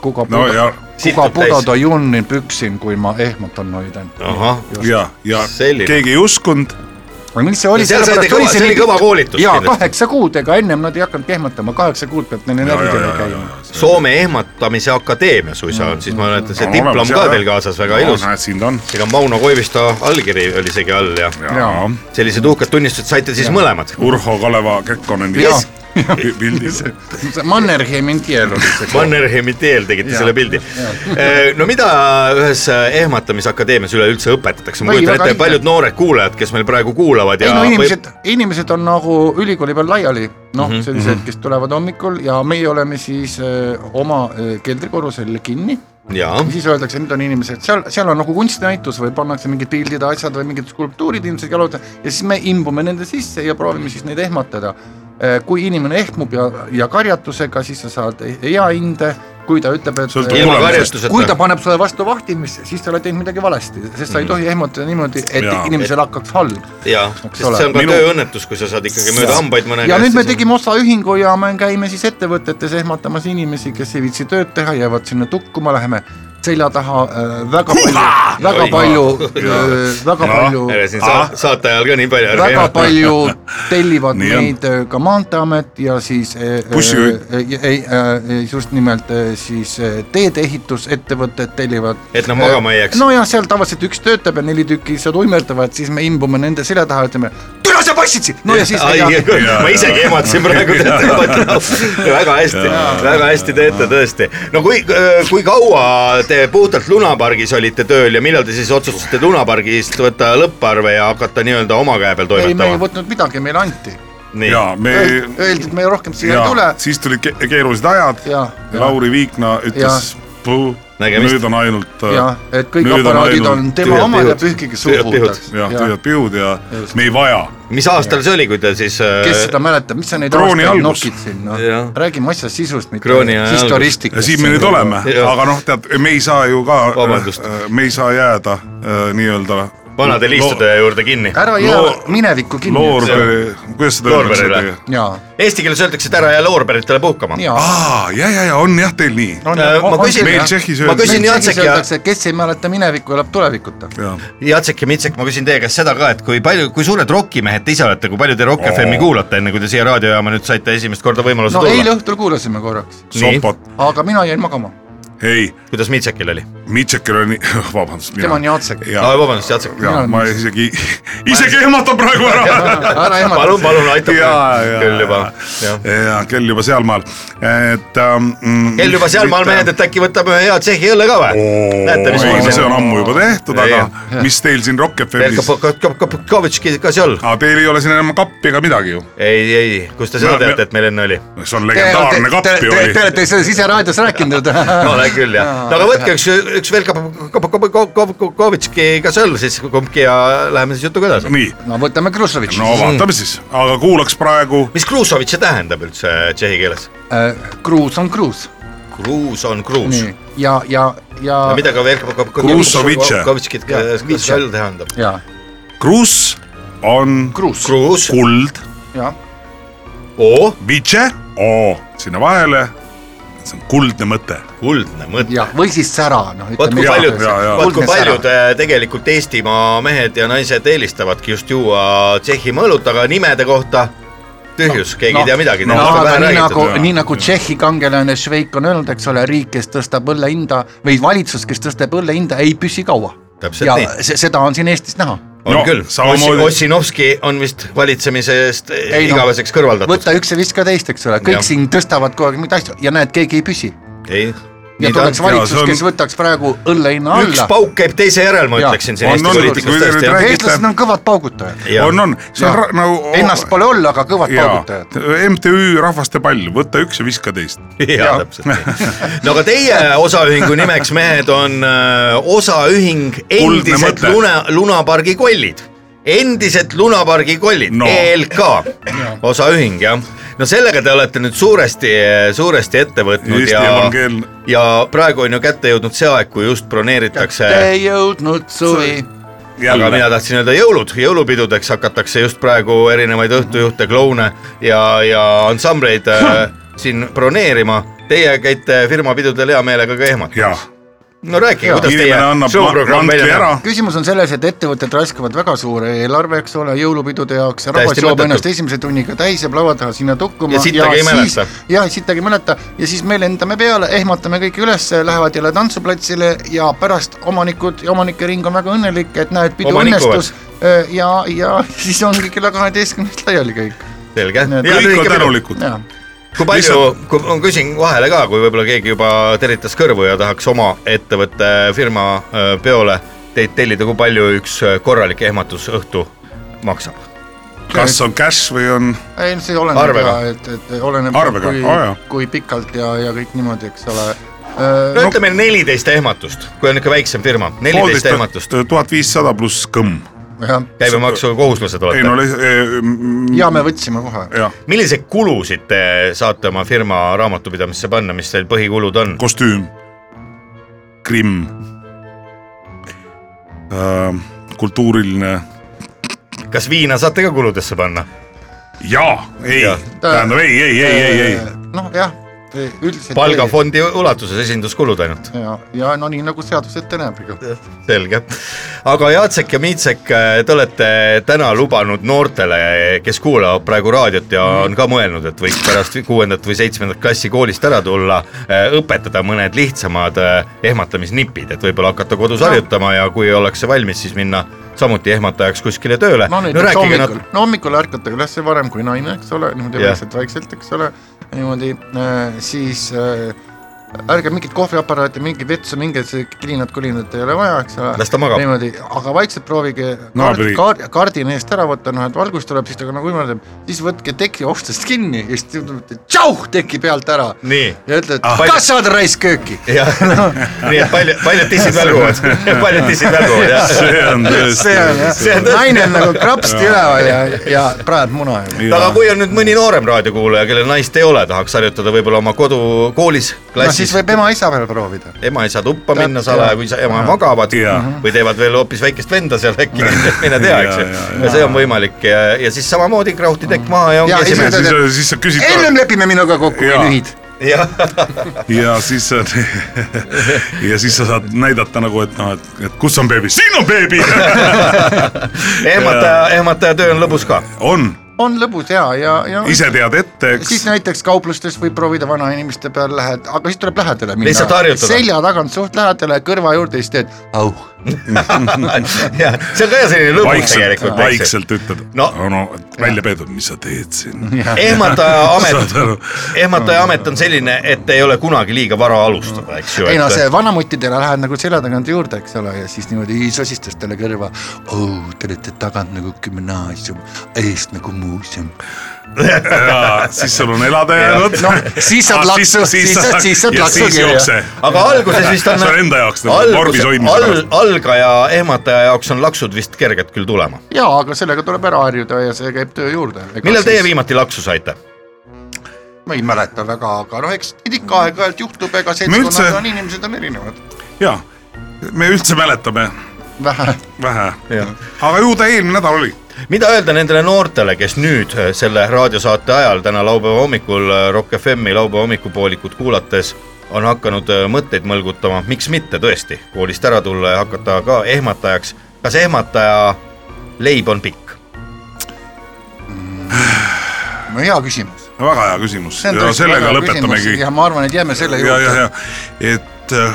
S4: kuga
S3: No ja-
S4: puda , kuga
S1: Situb
S4: puda
S1: täis.
S4: ta junni püksin , kui ma ehmatan hoidan .
S1: ahah ,
S3: ja , ja
S1: Selline.
S3: keegi ei uskunud ,
S4: aga mis see oli ,
S1: Seal saite kõva- see oli kõva koolitus
S4: jaa ,
S1: kindlasti.
S4: kaheksa kuud , ega ennem nad ei hakanud ehmatama , kaheksa kuud pealt neil energiat ei käima .
S1: Soome ehmatamise akadeemia suisa on , siis ma mäletan , see diplom ka teil kaasas , väga ilus .
S3: näed , siin ta on .
S1: ega Mauno Koivisto allkiri oli isegi all ja
S3: jaa ,
S1: sellised uhked tunnistused saite siis mõlemad .
S3: Urho Kaleva Kekkoneni
S1: Yes.
S3: pi- pildi .
S4: Mannerheim in Tielo .
S1: <laughs> Mannerheimi teel tegite selle pildi . no mida ühes äh, ehmatamisakadeemias üleüldse õpetatakse , ma
S4: Ei,
S1: kujutan
S4: väga
S1: ette ,
S4: lihtne.
S1: paljud noored kuulajad , kes meil praegu kuulavad
S4: ei
S1: ja
S4: no inimesed , inimesed on nagu ülikooli peal laiali , noh , sellised , kes tulevad hommikul ja meie oleme siis öö, oma öö, keldrikorrusel kinni
S1: võib- jaa ,
S4: ja siis öeldakse , nüüd on inimesed seal , seal on nagu kunstinäitus või pannakse mingid pildid , asjad või mingid skulptuurid ilmselt jalutada ja siis me imbume nende sisse ja proovime siis neid ehmatada . kui inimene ehmub ja , ja karjatusega , siis sa saad e-, hea hinde , kui ta ütleb , et
S3: Sõltub
S1: ilma
S3: Tulemused.
S4: kui ta
S1: karjastuseta .
S4: paneb sulle vastu vahtimisse , siis ta oled teinud midagi valesti , sest sa ei tohi ehmatada niimoodi , et
S3: Jaa.
S4: inimesel hakkaks halb .
S1: jaa , sest
S4: ole.
S1: see on ka
S3: Minu-
S1: tööõnnetus , kui sa saad ikkagi mööda hambaid mõne
S4: ja nüüd me tegime osaühingu ja me käime siis ettevõtetes ehmatamas inimesi , kes ei viitsi tööd teha , jäävad sinna tukkuma , läheme selja taha äh, väga palju , väga
S1: Oi.
S4: palju , äh, väga palju ,
S1: saate ajal ka nii palju ära
S4: väga
S1: ehmata . <laughs>
S4: palju tellivad
S3: Nii on.
S4: meid äh, ka Maanteeamet ja siis äh,
S3: Bussijuhid.
S4: äh, ei äh, , just nimelt äh, siis äh, teedeehitusettevõtted tellivad .
S1: Et nad magama ei jääks.
S4: nojah , seal tavaliselt üks töötab ja neli tükki lihtsalt uimerdavad , siis me imbume nende selja taha , ütleme , türa sa passisid , no ja siis ja,
S1: <laughs> ma isegi ehmatasin praegu , väga hästi , väga hästi teete tõesti . no kui , kui kaua te puhtalt Lunapargis olite tööl ja millal te siis otsustasite Lunapargist võtta lõpparve ja hakata nii-öelda oma käe peal
S4: ei , me ei
S1: toimetama ?
S4: võtnud midagi , meile anti .
S1: nii ,
S3: jaa , me
S4: Öeldi , et me rohkem siia ei tule
S3: jaa , siis tulid ke- keerulised ajad
S4: Jaa, jaa.
S3: Lauri Viikna ütles ,
S1: Nägemist.
S3: nüüd on ainult . äh,
S4: ja et kõik aparaadid on tema
S1: tühjad
S4: omad ja
S1: pihud.
S4: pühkige suu
S1: Tühjad pihud.
S4: puhtaks .
S3: jah , tühjad pihud ja me ei vaja .
S1: mis aastal see oli , kui te siis äh,
S4: kes seda mäletab , mis sa neid
S3: Krooni
S4: aastaid
S3: algus.
S4: nokid siin , noh
S1: Jah. ,
S4: räägime asja sisust , mitte
S1: Krooni aja
S3: ja
S4: historistikast .
S3: siin me nüüd oleme ,
S1: Jaa.
S3: aga noh , tead , me ei saa ju ka
S1: Vabandust. ,
S3: me ei saa jääda äh, nii-öelda .
S1: vanade liistude juurde kinni ?
S4: ära jää
S3: Loo-
S4: minevikku kinni .
S3: loorberi , kuidas seda
S1: Loorberile.
S3: öeldakse ?
S4: jaa ,
S1: Eesti keeles öeldakse , et ära jää loorberitele puhkama .
S4: jaa .
S3: aa , ja , ja , ja on jah , teil nii .
S1: ma küsin
S3: meil , Tšehhis
S1: ma
S3: öeldakse-
S1: küsin Jacek ja
S4: öeldakse , kes ei mäleta minevikku , elab tulevikuta .
S1: Jacek ja Mitsek , ma küsin teie käest seda ka , et kui palju , kui suured rokkimehed te ise olete , kui palju te Rock FM-i kuulate , enne kui te siia raadiojaama nüüd saite esimest korda võimaluse
S4: no eile
S1: tulla ?
S4: õhtul kuulasime korraks ,
S1: Nii.
S3: sopot ,
S4: aga mina jäin magama .
S3: ei ,
S1: kuidas Mitsekil oli ?
S3: Mitšekil on nii , <laughs> vabandust .
S4: Tema on
S3: <laughs>
S4: Jacek.
S3: jaa ,
S1: vabandust , Jacek .
S3: jaa , ma isegi , isegi ehmatan praegu <laughs> ära .
S4: ära ehmata
S1: palun ,, palun aita
S3: Jaa, jaa,
S1: küll juba , jah .
S3: jaa , kell juba sealmaal , et ähm, .
S1: kell juba sealmaal mehed ,. et äkki võtame ühe hea Tšehhi õlle ka või ? näete , mis
S3: ei , see on
S1: on .
S3: ammu juba tehtud ,
S1: Ei,
S3: aga mis teil siin Rock FM-is ,
S1: Verkapovitš ka seal .
S3: aga teil ei ole siin enam kappi ega midagi ju ,
S1: ei , ei , kust te seda
S3: Me- me-
S1: teate , et meil enne oli ?
S3: see on legendaarne kapp ju
S4: Te
S3: oli .
S4: olete sellest ise raadios rääkinud .
S3: Ah.
S1: olen küll jah , no aga võtke üks , üks Verkapovitš ka seal siis kumbki ja läheme siis jutuga edasi .
S3: nii ,
S4: no võtame Krušovitši
S3: no vaatame siis , aga kuulaks praegu
S1: mis Kruusovitš see tähendab üldse tšehhi keeles ?
S4: Äh, kruus on kruus .
S1: kruus on kruus .
S4: nii , ja , ja , ja
S1: aga , mida ka veel
S3: Kruusovitše.
S1: Kruusovitšit äh, seal tähendab ?
S4: ja
S3: kruss on
S4: kruus ,
S1: kruus ,
S3: kuld ,
S4: ja ,
S1: oo ,
S3: vitše , o sinna vahele , see on kuldne mõte .
S1: kuldne mõte .
S4: ja või siis sära , noh ,
S1: vot kui
S3: jaa,
S1: paljud ,
S3: jaa, jaa.
S1: vot kui
S4: Kuldne sära.
S1: paljud äh, tegelikult Eestimaa mehed ja naised eelistavadki just juua Tšehhi mõõlut , aga nimede kohta tühjus , keegi ei tea midagi .
S4: no aga nii nagu
S3: jaa. ,
S4: nii nagu Tšehhi kangelane Šveik on öelnud , eks ole , riik , kes tõstab õlle hinda või valitsus , kes tõstab õlle hinda , ei püsi kaua .
S1: Täpselt
S4: ja
S1: nii.
S4: se- seda on siin Eestis näha .
S1: on
S3: No,
S1: küll ,
S3: samamoodi-
S1: Ossinovski on vist valitsemise eest
S4: Ei, no.
S1: igaveseks kõrvaldatud .
S4: võta üks ja viska teist , eks ole , kõik
S1: Jah.
S4: siin tõstavad kogu aeg mingeid asju ja näed , keegi ei püsi .
S1: ei ,
S4: ja
S1: Nii ta-
S4: tuleks valitsus ,
S3: jaa, see on-
S4: kes võtaks praegu õlle hinna
S1: üks
S4: alla .
S1: pauk käib teise järel , ma
S4: Jaa.
S1: ütleksin siin
S3: On,
S1: Eesti
S3: on,
S1: poliitikas
S3: kui te
S1: tõesti
S3: nüüd
S1: jah.
S3: räägite-
S4: eestlased on kõvad paugutajad .
S1: Jaa.
S3: on , on , see on
S4: Jaa.
S3: ra- nagu .
S4: Ennast pole olla , aga kõvad paugutajad .
S3: jaa , MTÜ Rahvaste pall , võta üks ja viska teist .
S1: <laughs> jaa , täpselt . no aga teie osaühingu nimeks , mehed , on äh, osaühing
S3: Kuldne
S1: Endised
S3: mõte.
S1: Luna , Lunapargi kollid . endised Lunapargi kollid
S3: No.
S1: no. , ELK , osaühing jah . no sellega te olete nüüd suuresti , suuresti ette võtnud
S3: Eesti
S1: ja ,
S3: Evangeel-
S1: ja praegu on ju kätte jõudnud see aeg , kui just broneeritakse
S4: ei Ah. jõudnud suvi .
S1: aga
S3: jälle ,
S1: mina tahtsin öelda jõulud , jõulupidudeks hakatakse just praegu erinevaid õhtujuhte , kloune ja , ja ansambleid äh, siin broneerima . Teie käite firma pidudel hea meelega ka ehmatud .
S3: jaa .
S1: no rääkige , kuidas teie
S3: inimene annab ma-
S1: showprogramm
S3: mantli
S1: välja
S3: ära
S1: näeb .,
S4: küsimus on selles , et ettevõtted raiskavad väga suure eelarve , eks ole , jõulupidude jaoks , rahvas
S1: Täiesti
S4: joob
S1: mõttetu.
S4: ennast esimese tunniga täis jääb laua taha sinna tukkuma
S1: Ja sittagi ei
S4: siis
S1: mäleta. ,
S4: ja sittagi ei mäleta ja siis me lendame peale , ehmatame kõiki üles , lähevad jälle tantsuplatsile ja pärast omanikud ja omanike ring on väga õnnelik , et näed , pidu
S1: Omanikuvad.
S4: õnnestus Äh, ja , ja <laughs> siis ongi kella kaheteistkümnest laiali kõik .
S1: selge .
S4: Nii et
S3: kõik on tänulikud .
S4: jah ,
S1: kui palju , kui ma küsin vahele ka , kui võib-olla keegi juba teritas kõrvu ja tahaks oma ettevõtte firma äh, peole teid tellida , kui palju üks äh, korralik ehmatusõhtu maksab ?
S3: kas on cash või on
S4: ei see oleneb
S1: Arvega.
S4: ja et , et oleneb
S3: Arvega,
S4: kui
S3: aa, jaa. ,
S4: kui pikalt ja , ja kõik niimoodi , eks ole . Äh,
S1: no ütleme neliteist ehmatust , kui on ikka väiksem firma , neliteist ehmatust
S3: poolteist , tuhat viissada pluss kõmm .
S4: jah ,
S1: käibemaksu kohuslased
S3: ei no e,
S1: olete .
S3: le- ,
S4: ja me võtsime kohe .
S3: jah ,
S1: milliseid kulusid te saate oma firma raamatupidamisse panna , mis teil põhikulud on ?
S3: kostüüm , krimm , kultuuriline
S1: kas viina saate ka kuludesse panna ?
S3: jaa , ei
S1: Jah. ,
S3: tähendab ei , ei , ei , ei , ei .
S4: noh jah , üldiselt .
S1: palgafondi ulatuses esinduskulud ainult ,
S4: ja , ja no nii nagu seadus ette näeb .
S1: selge . aga Jacek ja Miitsek , te olete täna lubanud noortele , kes kuulavad praegu raadiot ja on ka mõelnud , et võiks pärast kuuendat või seitsmendat klassi koolist ära tulla , õpetada mõned lihtsamad eh, ehmatamisnipid , et võib-olla hakata kodus harjutama ja kui ollakse valmis , siis minna samuti ehmatajaks kuskile tööle .
S4: no näiteks hommikul , no hommikul ärkate üles varem kui naine , eks ole , niimoodi
S1: Jah.
S4: vaikselt-vaikselt , eks ole , niimoodi äh, siis äh, ärge mingit kohviaparaati , mingit vetsu , mingit kilinat-kulinat ei ole vaja , eks ole .
S1: Las ta magab.
S4: niimoodi , aga vaikselt proovige kaard,
S3: Naabri-
S4: kaard, kardina eest ära võtta , noh et valgus tuleb , siis ta nagu võimaldab , siis võtke teki oksast kinni ja siis tundub , et tšau , teki pealt ära .
S1: Nii.
S4: ja ütled
S1: Ah.
S4: ah, , kas saad raisk kööki ?
S1: <laughs> jah , nii et paljud , paljud tissid <laughs>
S4: <laughs>
S1: välguvad , paljud tissid välguvad <laughs> jah .
S3: see on tõesti
S4: see . on
S1: See
S4: jah
S1: on , tõesti-
S4: naine on nagu
S1: <laughs>
S4: krapsti üleval ja , ja praeb muna juba .
S1: aga kui on nüüd mõni noorem raadiokuulaja , kellel naist ei ole , tahaks harjutada võib-olla oma kodu , koolis ,
S4: no siis
S1: klassis no, ,
S4: võib ema-isa veel proovida .
S1: ema-isa tuppa minna
S4: Täpselt,
S1: salaja ,
S4: jah.
S1: kui isa ja ema magavad
S3: Jaa.
S1: või teevad veel hoopis väikest venda seal äkki , mine tea , eks
S3: Jaa, jaa,
S1: ju . ja see on võimalik ja, ja siis samamoodi krauhti tekk maha ja
S4: Ja
S1: ongi esimene
S4: ise- .
S3: siis , siis sa küsid
S4: ennem lepime minuga kokku , kui
S3: Jaa.
S4: lühid .
S1: jah ,
S3: ja siis sa , <laughs> ja siis sa saad näidata nagu , et noh , et , et kus on beebi , siin on beebi . <laughs>
S1: ehmataja , ehmataja töö on lõbus
S4: <laughs>
S1: ka .
S3: on ,
S4: on lõbus ja , ja , ja
S3: ise tead ette , eks
S4: siis . näiteks kauplustes võib proovida vanainimeste peal lähed , aga siis tuleb lähedale minna .
S1: Lihtsalt harjutada.
S4: selja tagant suht lähedale kõrva juurde , siis teed au .
S1: jah , see on ka selline lõbus
S3: vaikselt ,
S1: tegelikult .
S3: vaikselt ütled
S1: No.
S3: no. , no välja peetud , mis sa teed
S4: <laughs>
S3: siin .
S1: ehmataja amet
S3: saad aru ,
S1: ehmataja amet on selline , et ei ole kunagi liiga vara alustada , eks ju .
S4: ei no see vanamuttidele lähed nagu selja tagant juurde , eks ole , ja siis niimoodi sosistas talle kõrva . oo , te olete tagant nagu gümnaasium , eest nagu muuseum .
S3: siis sul on elada jäänud . Ah,
S4: Noh, siis saad laksu- siis saad- siis saad laksu
S3: ja siis
S4: kirja.
S3: jookse .
S1: aga alguses vist on .
S3: <laughs> see on enda jaoks nagu vorbis hoidmise
S1: al,
S3: pärast .
S1: algaja ehmataja jaoks on laksud vist kerged küll tulema .
S4: ja , aga sellega tuleb ära harjuda ja see käib töö juurde .
S1: millal teie ? viimati laksu saite ?
S4: ma ei mäleta väga , aga noh , eks neid ikka aeg-ajalt juhtub , ega
S3: üldse-
S4: seltskonnad on , inimesed on erinevad .
S3: jaa , me üldse mäletame
S4: vähe .
S3: vähe , aga ju ta eelmine nädal oli .
S1: mida öelda nendele noortele , kes nüüd eh, selle raadiosaate ajal täna laupäeva hommikul eh, Rock FM-i laupäeva hommikupoolikut kuulates on hakanud eh, mõtteid mõlgutama , miks mitte tõesti koolist ära tulla ja hakata ka ehmatajaks . kas ehmataja leib on pikk ?
S4: no hea küsimus .
S3: väga hea küsimus ja sellega lõpetamegi .
S4: ja Mhm. ma arvan , et jääme selle
S3: ja , ja ,
S4: juurde .
S3: ja , et äh,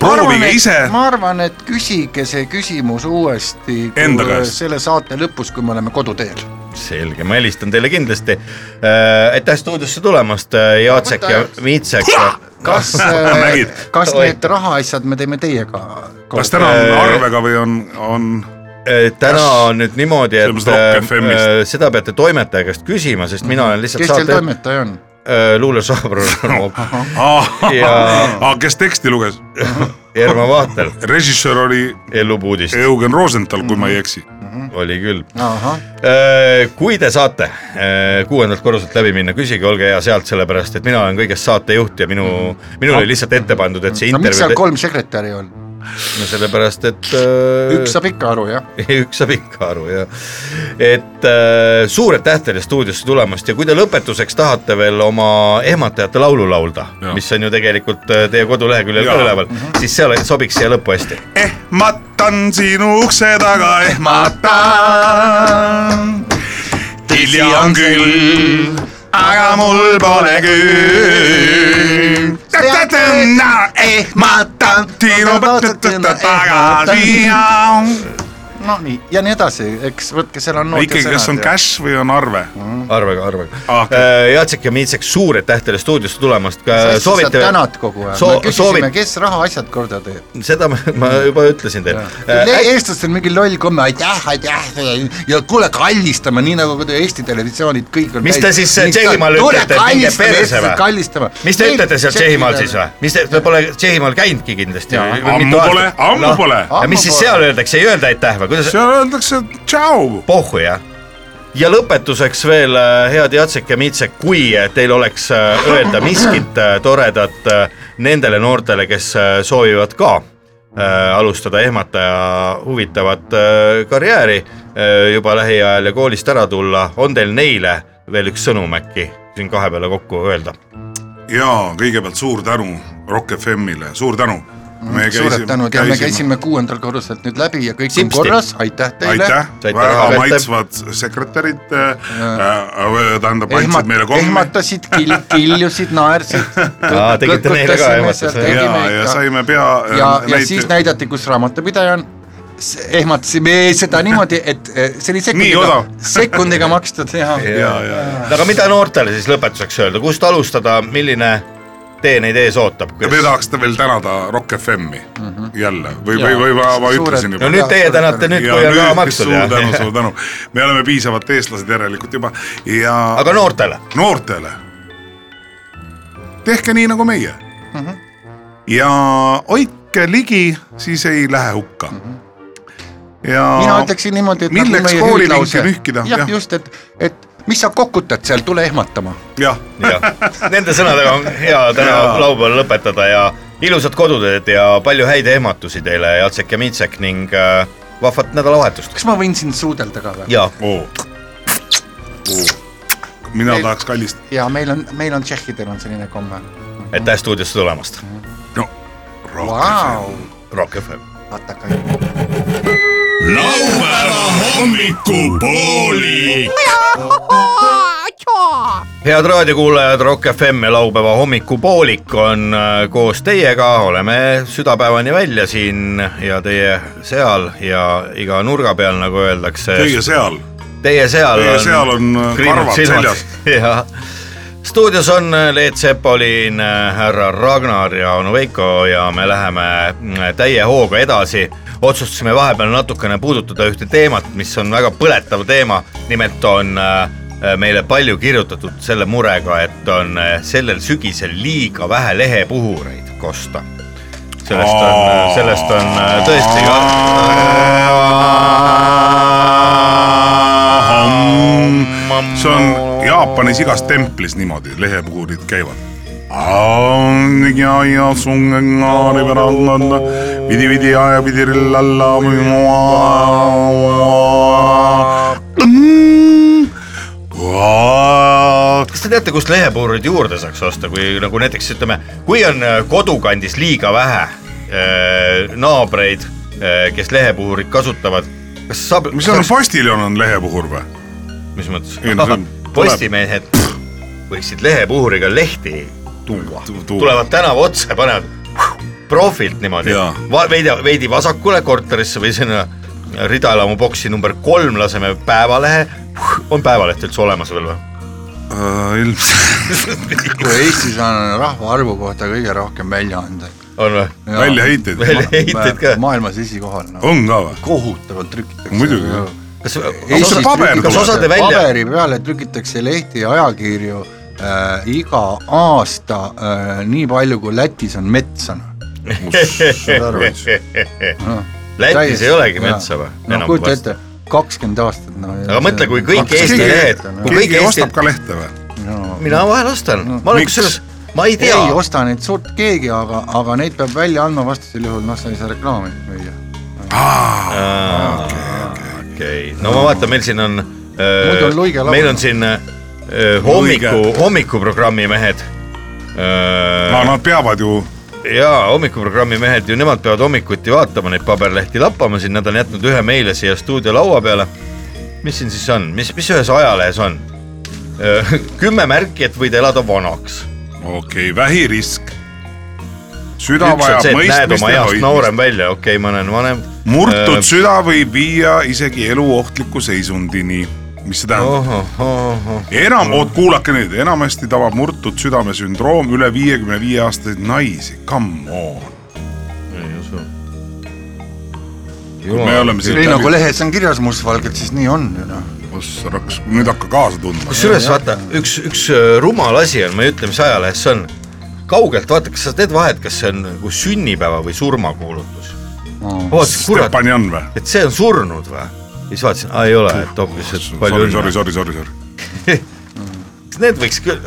S3: proovige ise ,
S4: ma arvan , et küsige see küsimus uuesti
S3: Enda käest.
S4: selle saate lõpus , kui me oleme koduteel .
S1: selge , ma helistan teile kindlasti äh, . aitäh stuudiosse tulemast , Jacek ja Mitsek .
S3: <laughs>
S4: kas äh,
S3: nägid? ,
S4: kas need rahaasjad me teeme teiega ?
S3: kas täna on arvega või on , on ,
S1: Eh, täna on nüüd niimoodi ,
S3: See on
S1: et
S3: Rock
S1: äh, äh,
S3: FM-ist.
S1: seda peate toimetaja käest küsima , sest mina olen lihtsalt
S4: kes teil
S1: saate
S4: toimetaja on ?
S1: äh, luulesaabr
S4: <laughs>
S1: Ja-
S3: <laughs> aa , kes teksti luges ?
S1: Erma Vahter ,
S3: režissöör oli
S1: Ellu Puudist ,
S3: Eugen Rosenthal , kui ma ei eksi .
S1: oli küll .
S4: ahah ,
S1: kui te saate äh, kuuendalt korruselt läbi minna , küsige , olge hea sealt , sellepärast et mina olen kõigest saatejuht ja minu , minul oli lihtsalt ette pandud , et see
S4: no miks seal
S1: intervjuu ,
S4: kolm sekretäri on ?
S1: sellepärast et äh,
S4: üks saab ikka aru
S1: <laughs>
S4: jah ,
S1: üks saab ikka aru ja et äh, suur aitäh teile stuudiosse tulemast ja kui te lõpetuseks tahate veel oma ehmatajate laulu laulda ,
S3: Jaa.
S1: mis on ju tegelikult äh, teie koduleheküljel ka
S3: Jaa. Mhm.
S1: üleval , siis see ole- sobiks siia lõppu hästi .
S3: ehmatan sinu ukse taga , ehmatan . hilja on küll , aga mul pole küll . ehmatan sinu tagasi ja .
S4: no nii ja nii edasi , eks võtke seal on .
S3: ikkagi , kas
S1: Äh,
S3: on cash või on arve ?
S1: arvega , arvega
S3: Ah, okei.
S1: okay. . Jacek ja Miitsek , suur aitäh teile stuudiosse tulemast .
S4: soovite . tänad kogu aeg
S1: Soo-
S4: so, , me küsisime
S1: soovi-
S4: soovi... , kes rahaasjad korda teeb .
S1: seda ma, ma juba ütlesin teile . Äh,
S4: eestlastel mingi loll komme , aitäh , aitäh ja kuule , kallistame , nii nagu te Eesti televisioonid kõik on .
S1: Mis te siis äh, Tšehhimaal ütlete, et minge perse või?
S4: kallistama .
S1: mis te ütlete seal Tšehhimaal siis või ? mis te , te pole Tšehhimaal käinudki kindlasti .
S3: Ammu pole, ammu
S1: ja
S3: pole.
S1: mis
S4: Ammu
S1: siis
S4: pole.
S1: seal öeldakse , ei öelda aitäh või kuidas ?
S3: seal öeldakse tšau .
S1: pohhu jah . ja lõpetuseks veel , head Jacek ja Miitsek , kui teil oleks äh, öelda miskit äh, toredat äh, nendele noortele , kes äh, soovivad ka äh, alustada ehmataja huvitavat äh, karjääri äh, juba lähiajal ja koolist ära tulla , on teil neile veel üks sõnum äkki siin kahe peale kokku öelda ?
S3: ja kõigepealt suur tänu Rock FM-ile , suur tänu .
S4: Mm, suured tänud ja me käisime kuuendal korruselt nüüd läbi ja kõik on
S1: Sipsti.
S4: korras , aitäh teile
S3: aitäh .
S1: Saite , raha
S3: väga
S1: kätte.
S3: maitsvad sekretärid , tähendab
S4: ehmat-
S3: andsid meile kommi
S4: ehmatasid , kiljusid ,
S3: <laughs>
S4: naersid .
S1: Aa, tegite neile ka ehmatus, jah.
S3: ja , ja saime äh, pea
S4: ja , ja siis . näidati , kus raamatupidaja on . ehmatasime seda niimoodi , et eh, see oli sekundiga
S3: odav. ,
S4: sekundiga makstud ja
S3: ja , ja ,
S1: aga mida noortele siis lõpetuseks öelda , kust alustada , milline tee neid ees ootab ?
S3: ja me tahaks veel tänada Rock FM-i jälle või , või , või ma , ma
S4: Mhm. Suured-
S3: ütlesin
S1: no
S3: juba .
S1: nüüd teie tänate nüüd , kui on raha makstud
S3: suur tänu ,
S1: ja ,
S3: suur tänu , me oleme piisavalt eestlased järelikult juba ja .
S1: aga noortele
S3: noortele . tehke nii nagu meie mm . -hmm.
S4: Mhm.
S3: ja hoidke ligi , siis ei lähe hukka mm . -hmm. ja .
S4: Mhm. mina ütleksin niimoodi , et
S3: milleks
S4: nagu meie
S3: kooli
S4: hüüdlause.
S3: mingi nühkida?
S4: jah
S3: Jah. ,
S4: just , et , et mis sa kokutad seal , tule ehmatama .
S3: jah ,
S1: jah , nende sõnadega on hea täna
S3: Jaa.
S1: laupäeval lõpetada ja ilusat koduteed ja palju häid ehmatusi teile , Jacek ja Mintsek ning äh, vahvat nädalavahetust .
S4: kas ma võin sind suudelda ka või ?
S1: ja
S3: oo . mina
S4: Meil-
S3: tahaks kallist ,
S4: ja meil on , meil on tšehhidel on selline komme .
S1: aitäh stuudiosse tulemast ,
S3: no
S4: Oh,
S3: rohkem .
S4: Vau ,
S1: Rock FM .
S4: vaata kui .
S5: laupäeva hommikupooli .
S1: head raadiokuulajad , Rock FM ja laupäeva hommikupoolik on äh, koos teiega , oleme südapäevani välja siin ja teie seal ja iga nurga peal , nagu öeldakse .
S3: Teie seal ,
S1: teie seal
S3: teie seal on äh, karvad seljas ..
S1: <laughs> jah , stuudios on äh, Leet Sepolin , härra Ragnar ja onu Veiko ja me läheme mm, täie hooga edasi . otsustasime vahepeal natukene puudutada ühte teemat , mis on väga põletav teema , nimelt on äh, meile palju kirjutatud selle murega , et on äh, sellel sügisel liiga vähe lehepuhureid kosta . sellest on , sellest on äh, tõesti ka .
S3: see on Jaapanis igas templis niimoodi , lehepuhurid käivad . vidi vidi aja vidi rillalla . Mm.
S1: kas te teate , kust lehepuurid juurde saaks osta , kui nagu näiteks ütleme , kui on äh, kodukandis liiga vähe äh, naabreid , kes lehepuhurit kasutavad , kas saab ,
S3: mis on , postiljon on lehepuhur või ?
S1: mis mõttes
S3: Ei, no see on- ,
S1: <laughs> postimehed võiksid lehepuhuriga lehti tuua
S3: Tu- , tuua.
S1: tulevad tänava otsa , panevad profilt niimoodi
S3: Jaa.
S1: Va, veidi , veidi vasakule korterisse või sinna ridaelamu boksi number kolm laseme päevalehe on Päevaleht üldse olemas veel või ?
S3: ilmselt <laughs>
S4: kui Eestis on rahvaarvu kohta kõige rohkem väljaandeid .
S1: on või ?
S3: väljaheiteid .
S1: väljaheiteid ka .
S4: maailmas esikohal nagu
S3: on ka või ?
S4: kohutavalt trükitakse .
S3: Muidugi.
S1: kas ,
S4: Eestis
S3: see paber
S4: trükitakse-
S3: tuleb?
S1: Kas osade välja-
S4: <laughs> paberi peale trükitakse lehti ja ajakirju äh, iga aasta äh, nii palju , kui Lätis on metsana .
S1: Ah. Lätis ei olegi metsa või ?
S4: no kujuta ette , kakskümmend aastat no, .
S1: aga mõtle , kui kõik Eesti
S3: keegi-
S1: lehed , kui kõik
S3: keegi
S1: Eesti
S3: ostab , ka lehte või ?
S1: mina vahel ostan , ma olen
S3: miks?
S1: kusjuures , ma ei
S4: ei
S1: tea ,
S4: osta neid suurt keegi , aga , aga neid peab välja andma , vastasel juhul noh , sa ei saa reklaami müüa .
S1: okei , no ma vaatan , meil siin on ,
S4: Muidu on luige laua
S1: meil on siin äh, hommiku , hommikuprogrammi mehed . Äh.
S3: no nad peavad ju ,
S1: jaa , hommikuprogrammi mehed ju , nemad peavad hommikuti vaatama neid paberlehti , lappama siin , nad on jätnud ühe meile siia stuudio laua peale . mis siin siis on , mis , mis ühes ajalehes on ? <laughs> kümme märki , et võid elada vanaks .
S3: okei okay, , vähirisk .
S1: üks
S3: süda
S1: on
S3: vajab
S1: see , et näed
S3: mõistmist
S1: oma
S3: ja
S1: east
S3: hoidmist .
S1: noorem Äh. välja , okei okay, , ma olen vanem .
S3: murtud süda võib viia isegi eluohtliku seisundini . mis see
S1: Oh.
S3: tähendab ?
S1: ohohoho ,
S3: enam , oot , kuulake nüüd , enamasti tabab murtud südamesündroom üle viiekümne viie aastaseid naisi , come on .
S1: ei usu .
S3: me oleme siin
S4: ei no kui
S3: läbi ,
S4: lehes on kirjas mustvalgelt , siis nii on ju noh .
S3: ossa raks , nüüd hakka kaasa tundma .
S1: kusjuures vaata , üks , üks öö, rumal asi on , ma ei ütle , mis ajalehes see on , kaugelt vaata , kas sa teed vahet , kas see on nagu sünnipäeva või surmakuulutus mm. . vaatasin , kurat ,
S3: Stepanjan või ?
S1: et see on surnud või ? siis vaatasin , aa ei ole , et hoopis , et palju
S3: sorry , sorry ,
S1: õnne .
S3: sorry , sorry , sorry .
S1: Need võiks küll ,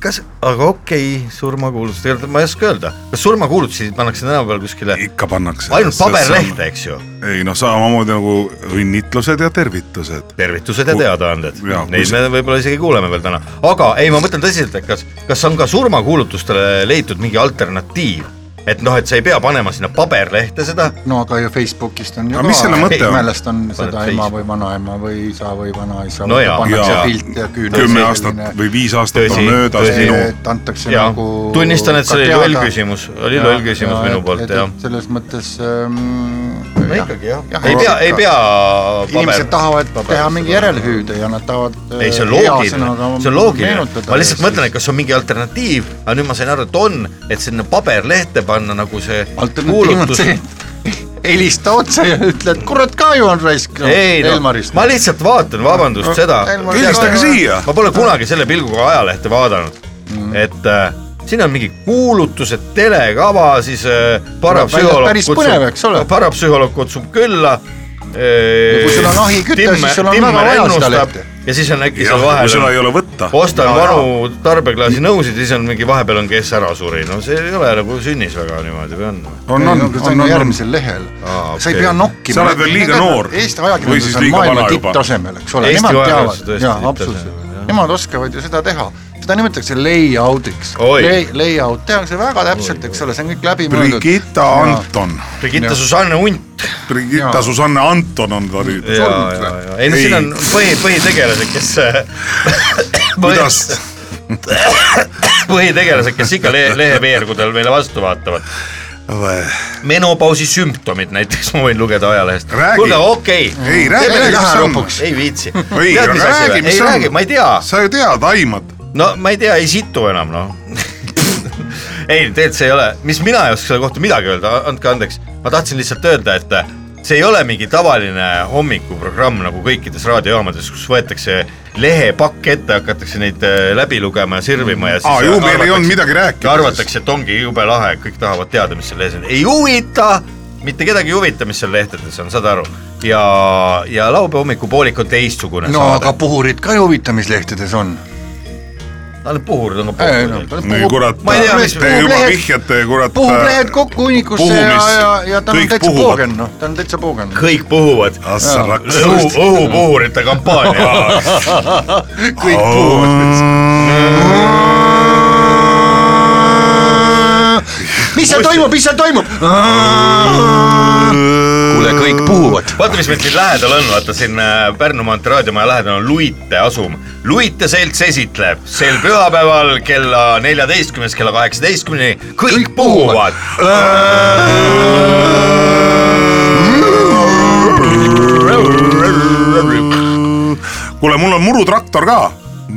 S1: kas , aga okei okay, , surmakuulutus , tegelikult ma ei oska öelda , kas surmakuulutusi pannakse tänapäeval kuskile
S3: ikka pannakse .
S1: ainult . paberlehte , eks ju ,
S3: ei noh , samamoodi nagu õnnitlused ja tervitused .
S1: tervitused ja teadaanded
S3: Jaa, ,
S1: neid
S3: kus-
S1: me võib-olla isegi kuuleme veel täna , aga ei , ma mõtlen tõsiselt , et kas , kas on ka surmakuulutustele leitud mingi alternatiiv , et noh , et sa ei pea panema sinna paberlehte seda ,
S4: no aga ju Facebookist on ju
S3: Aga mis selle mõte on?
S4: meelest on seda
S1: Paned
S4: ema
S1: Face-
S4: või vanaema või isa või vanaisa
S1: No jaa.
S4: pannakse
S3: Jaa.
S4: pilt ja küünlaid
S3: kümme aastat või viis aastat
S1: Tõsi,
S3: on möödas ,
S1: tõsi.
S3: minu
S4: et antakse
S1: jaa
S4: nagu .
S1: tunnistan , et see oli loll . küsimus , oli loll küsimus minu poolt , jah .
S4: selles mõttes ähm, .
S1: no ikkagi jah , ei pea , ei pea
S4: inimesed
S1: paber-
S4: tahavad
S1: paber-
S4: teha mingi järelhüüde ja nad tahavad . äh,
S1: ei , see on loogiline , see on loogiline , ma lihtsalt mõtlen , et kas on mingi alternatiiv , aga nüüd ma sain aru , et on , et sinna paberlehte panna nagu see
S4: alternatiiv on
S1: kuulutus
S4: see , et <laughs> helista otse ja ütle , et kurat ka ju on raisk .
S1: ei no ,
S4: Elmarist .
S1: ma lihtsalt vaatan , vabandust , seda ,
S4: Elmar-
S3: helistage siia .
S1: ma pole kunagi selle pilguga ajalehte vaadanud
S3: Mhm.
S1: mm. , et äh, siin on mingi kuulutused , telekava , siis äh,
S4: välja,
S1: parapsühholoog
S4: päris põnev, eks ole.
S1: parapsühholoog kutsub külla . äh, kui
S4: kui sul on ahi kütta, siis sul on väga vaja seda lehte.
S1: ja siis on äkki seal
S3: jah , kui seda
S1: vahel ,
S3: ei ole võtta .
S1: ostan vanu tarbeklaasi nõusid ja siis on mingi vahepeal on , kes ära suri , no see ei ole nagu sünnis väga niimoodi või on ?
S3: on , on , on , on , on .
S4: järgmisel lehel
S1: Aa, ,
S4: sa ei
S1: okei.
S4: pea nokkima .
S3: Sa oled veel liiga noor.
S4: Eesti
S3: Või
S4: ajakirjandus
S3: siis
S4: on
S3: liiga
S4: maailma
S3: vana juba.
S4: tipptasemel , eks ole ,
S1: Eesti
S4: nemad
S1: ajakirjandus on
S4: teavad ,
S1: tõesti
S4: jaa ,
S1: tipptasemel,
S4: absoluutselt , nemad oskavad ju seda teha , seda nimetatakse layout'iks
S1: Oi.
S4: Lay, . layout tehakse väga täpselt , eks ole , see on kõik läbi mõeldud .
S3: Brigitta Anton ,
S1: Brigitta Susanne Unt .
S3: Brigitta Susanne Anton on ta nüüd .
S1: ja , ja , ja ei no siin on põhi , põhitegelased , kes <laughs>
S3: kuidas ,
S1: põhitegelased , kes ikka lehe , leheveergudel meile vastu vaatavad . menopausi sümptomid näiteks ma võin lugeda ajalehest .
S3: Räägi.
S1: kuulge , okei .
S3: Ei, räägi, mis see on.
S1: ei viitsi .
S3: ei , aga räägi , mis
S1: ei
S3: on
S1: räägi ,. ma ei tea ,
S3: sa ju tead , aimad .
S1: no ma ei tea , ei situ enam noh . <laughs> ei , tegelikult see ei ole , mis mina ei oska selle kohta midagi öelda , andke andeks , ma tahtsin lihtsalt öelda , et äh, see ei ole mingi tavaline hommikuprogramm nagu kõikides raadiojaamades , kus võetakse lehepakk ette , hakatakse neid äh, läbi lugema ja sirvima ja siis .
S3: aa , ju meil ei olnud midagi rääkida .
S1: arvatakse , et ongi jube lahe , kõik tahavad teada , mis seal lehes on , ei huvita , mitte kedagi ei huvita , mis seal lehtedes on , saad aru . ja , ja laupäeva hommikupoolik on teistsugune
S4: no
S1: saade
S4: aga . puhurid ka ju huvitav , mis lehtedes on .
S1: aga need puhurid on ka
S4: Ei, no,
S1: puhurid .
S3: ei kurat ,
S1: Ma ei tea, mis-
S3: te juba
S4: puhub lehed-
S3: vihjate kurat . äh,
S4: puhub lehed kokku hunnikusse ja ,
S3: puhumist.
S4: ja , ja ta on
S3: Kõik
S4: täitsa
S3: puhuvad.
S4: poogen , noh , ta on täitsa poogen .
S1: kõik puhuvad
S3: Assa raks .
S1: õhu , õhupuhurite kampaania .
S4: kõik mis seal toimub , mis seal toimub ? kuule , kõik puhuvad .
S1: vaata , mis meil siin lähedal on , vaata siin äh, Pärnu maantee raadiomaja lähedal on Luite asum . Luite selts esitleb sel pühapäeval kella neljateistkümnest kella kaheksateistkümneni kõik puhuvad .
S3: kuule , mul on murutraktor ka ,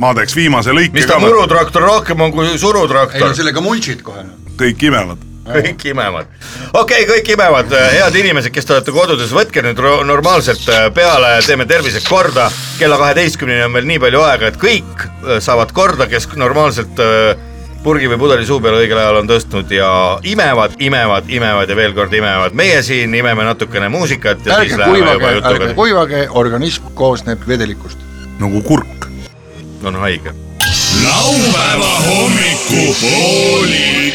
S3: ma teeks viimase lõike .
S1: mis ta ? murutraktor rohkem on kui
S2: ei no
S1: surutraktor ,
S2: sellega mulchid kohe .
S3: kõik imevad .
S1: kõik imevad . okei okay, , kõik imevad , head inimesed , kes te olete kodudes , võtke nüüd ro- normaalselt äh, peale , teeme tervised korda . kella kaheteistkümneni on veel nii palju aega , et kõik äh, saavad korda , kes normaalselt äh, purgi või pudeli suu peale õigel ajal on tõstnud ja imevad , imevad , imevad ja veel kord imevad . meie siin imeme natukene muusikat ja
S2: ärge
S1: siis läheme juba
S2: kuivage , ärge
S1: jutuga ,
S2: kuivage , organism koosneb vedelikust .
S3: nagu kurk .
S1: on haige .
S5: laupäeva hommikupoolik .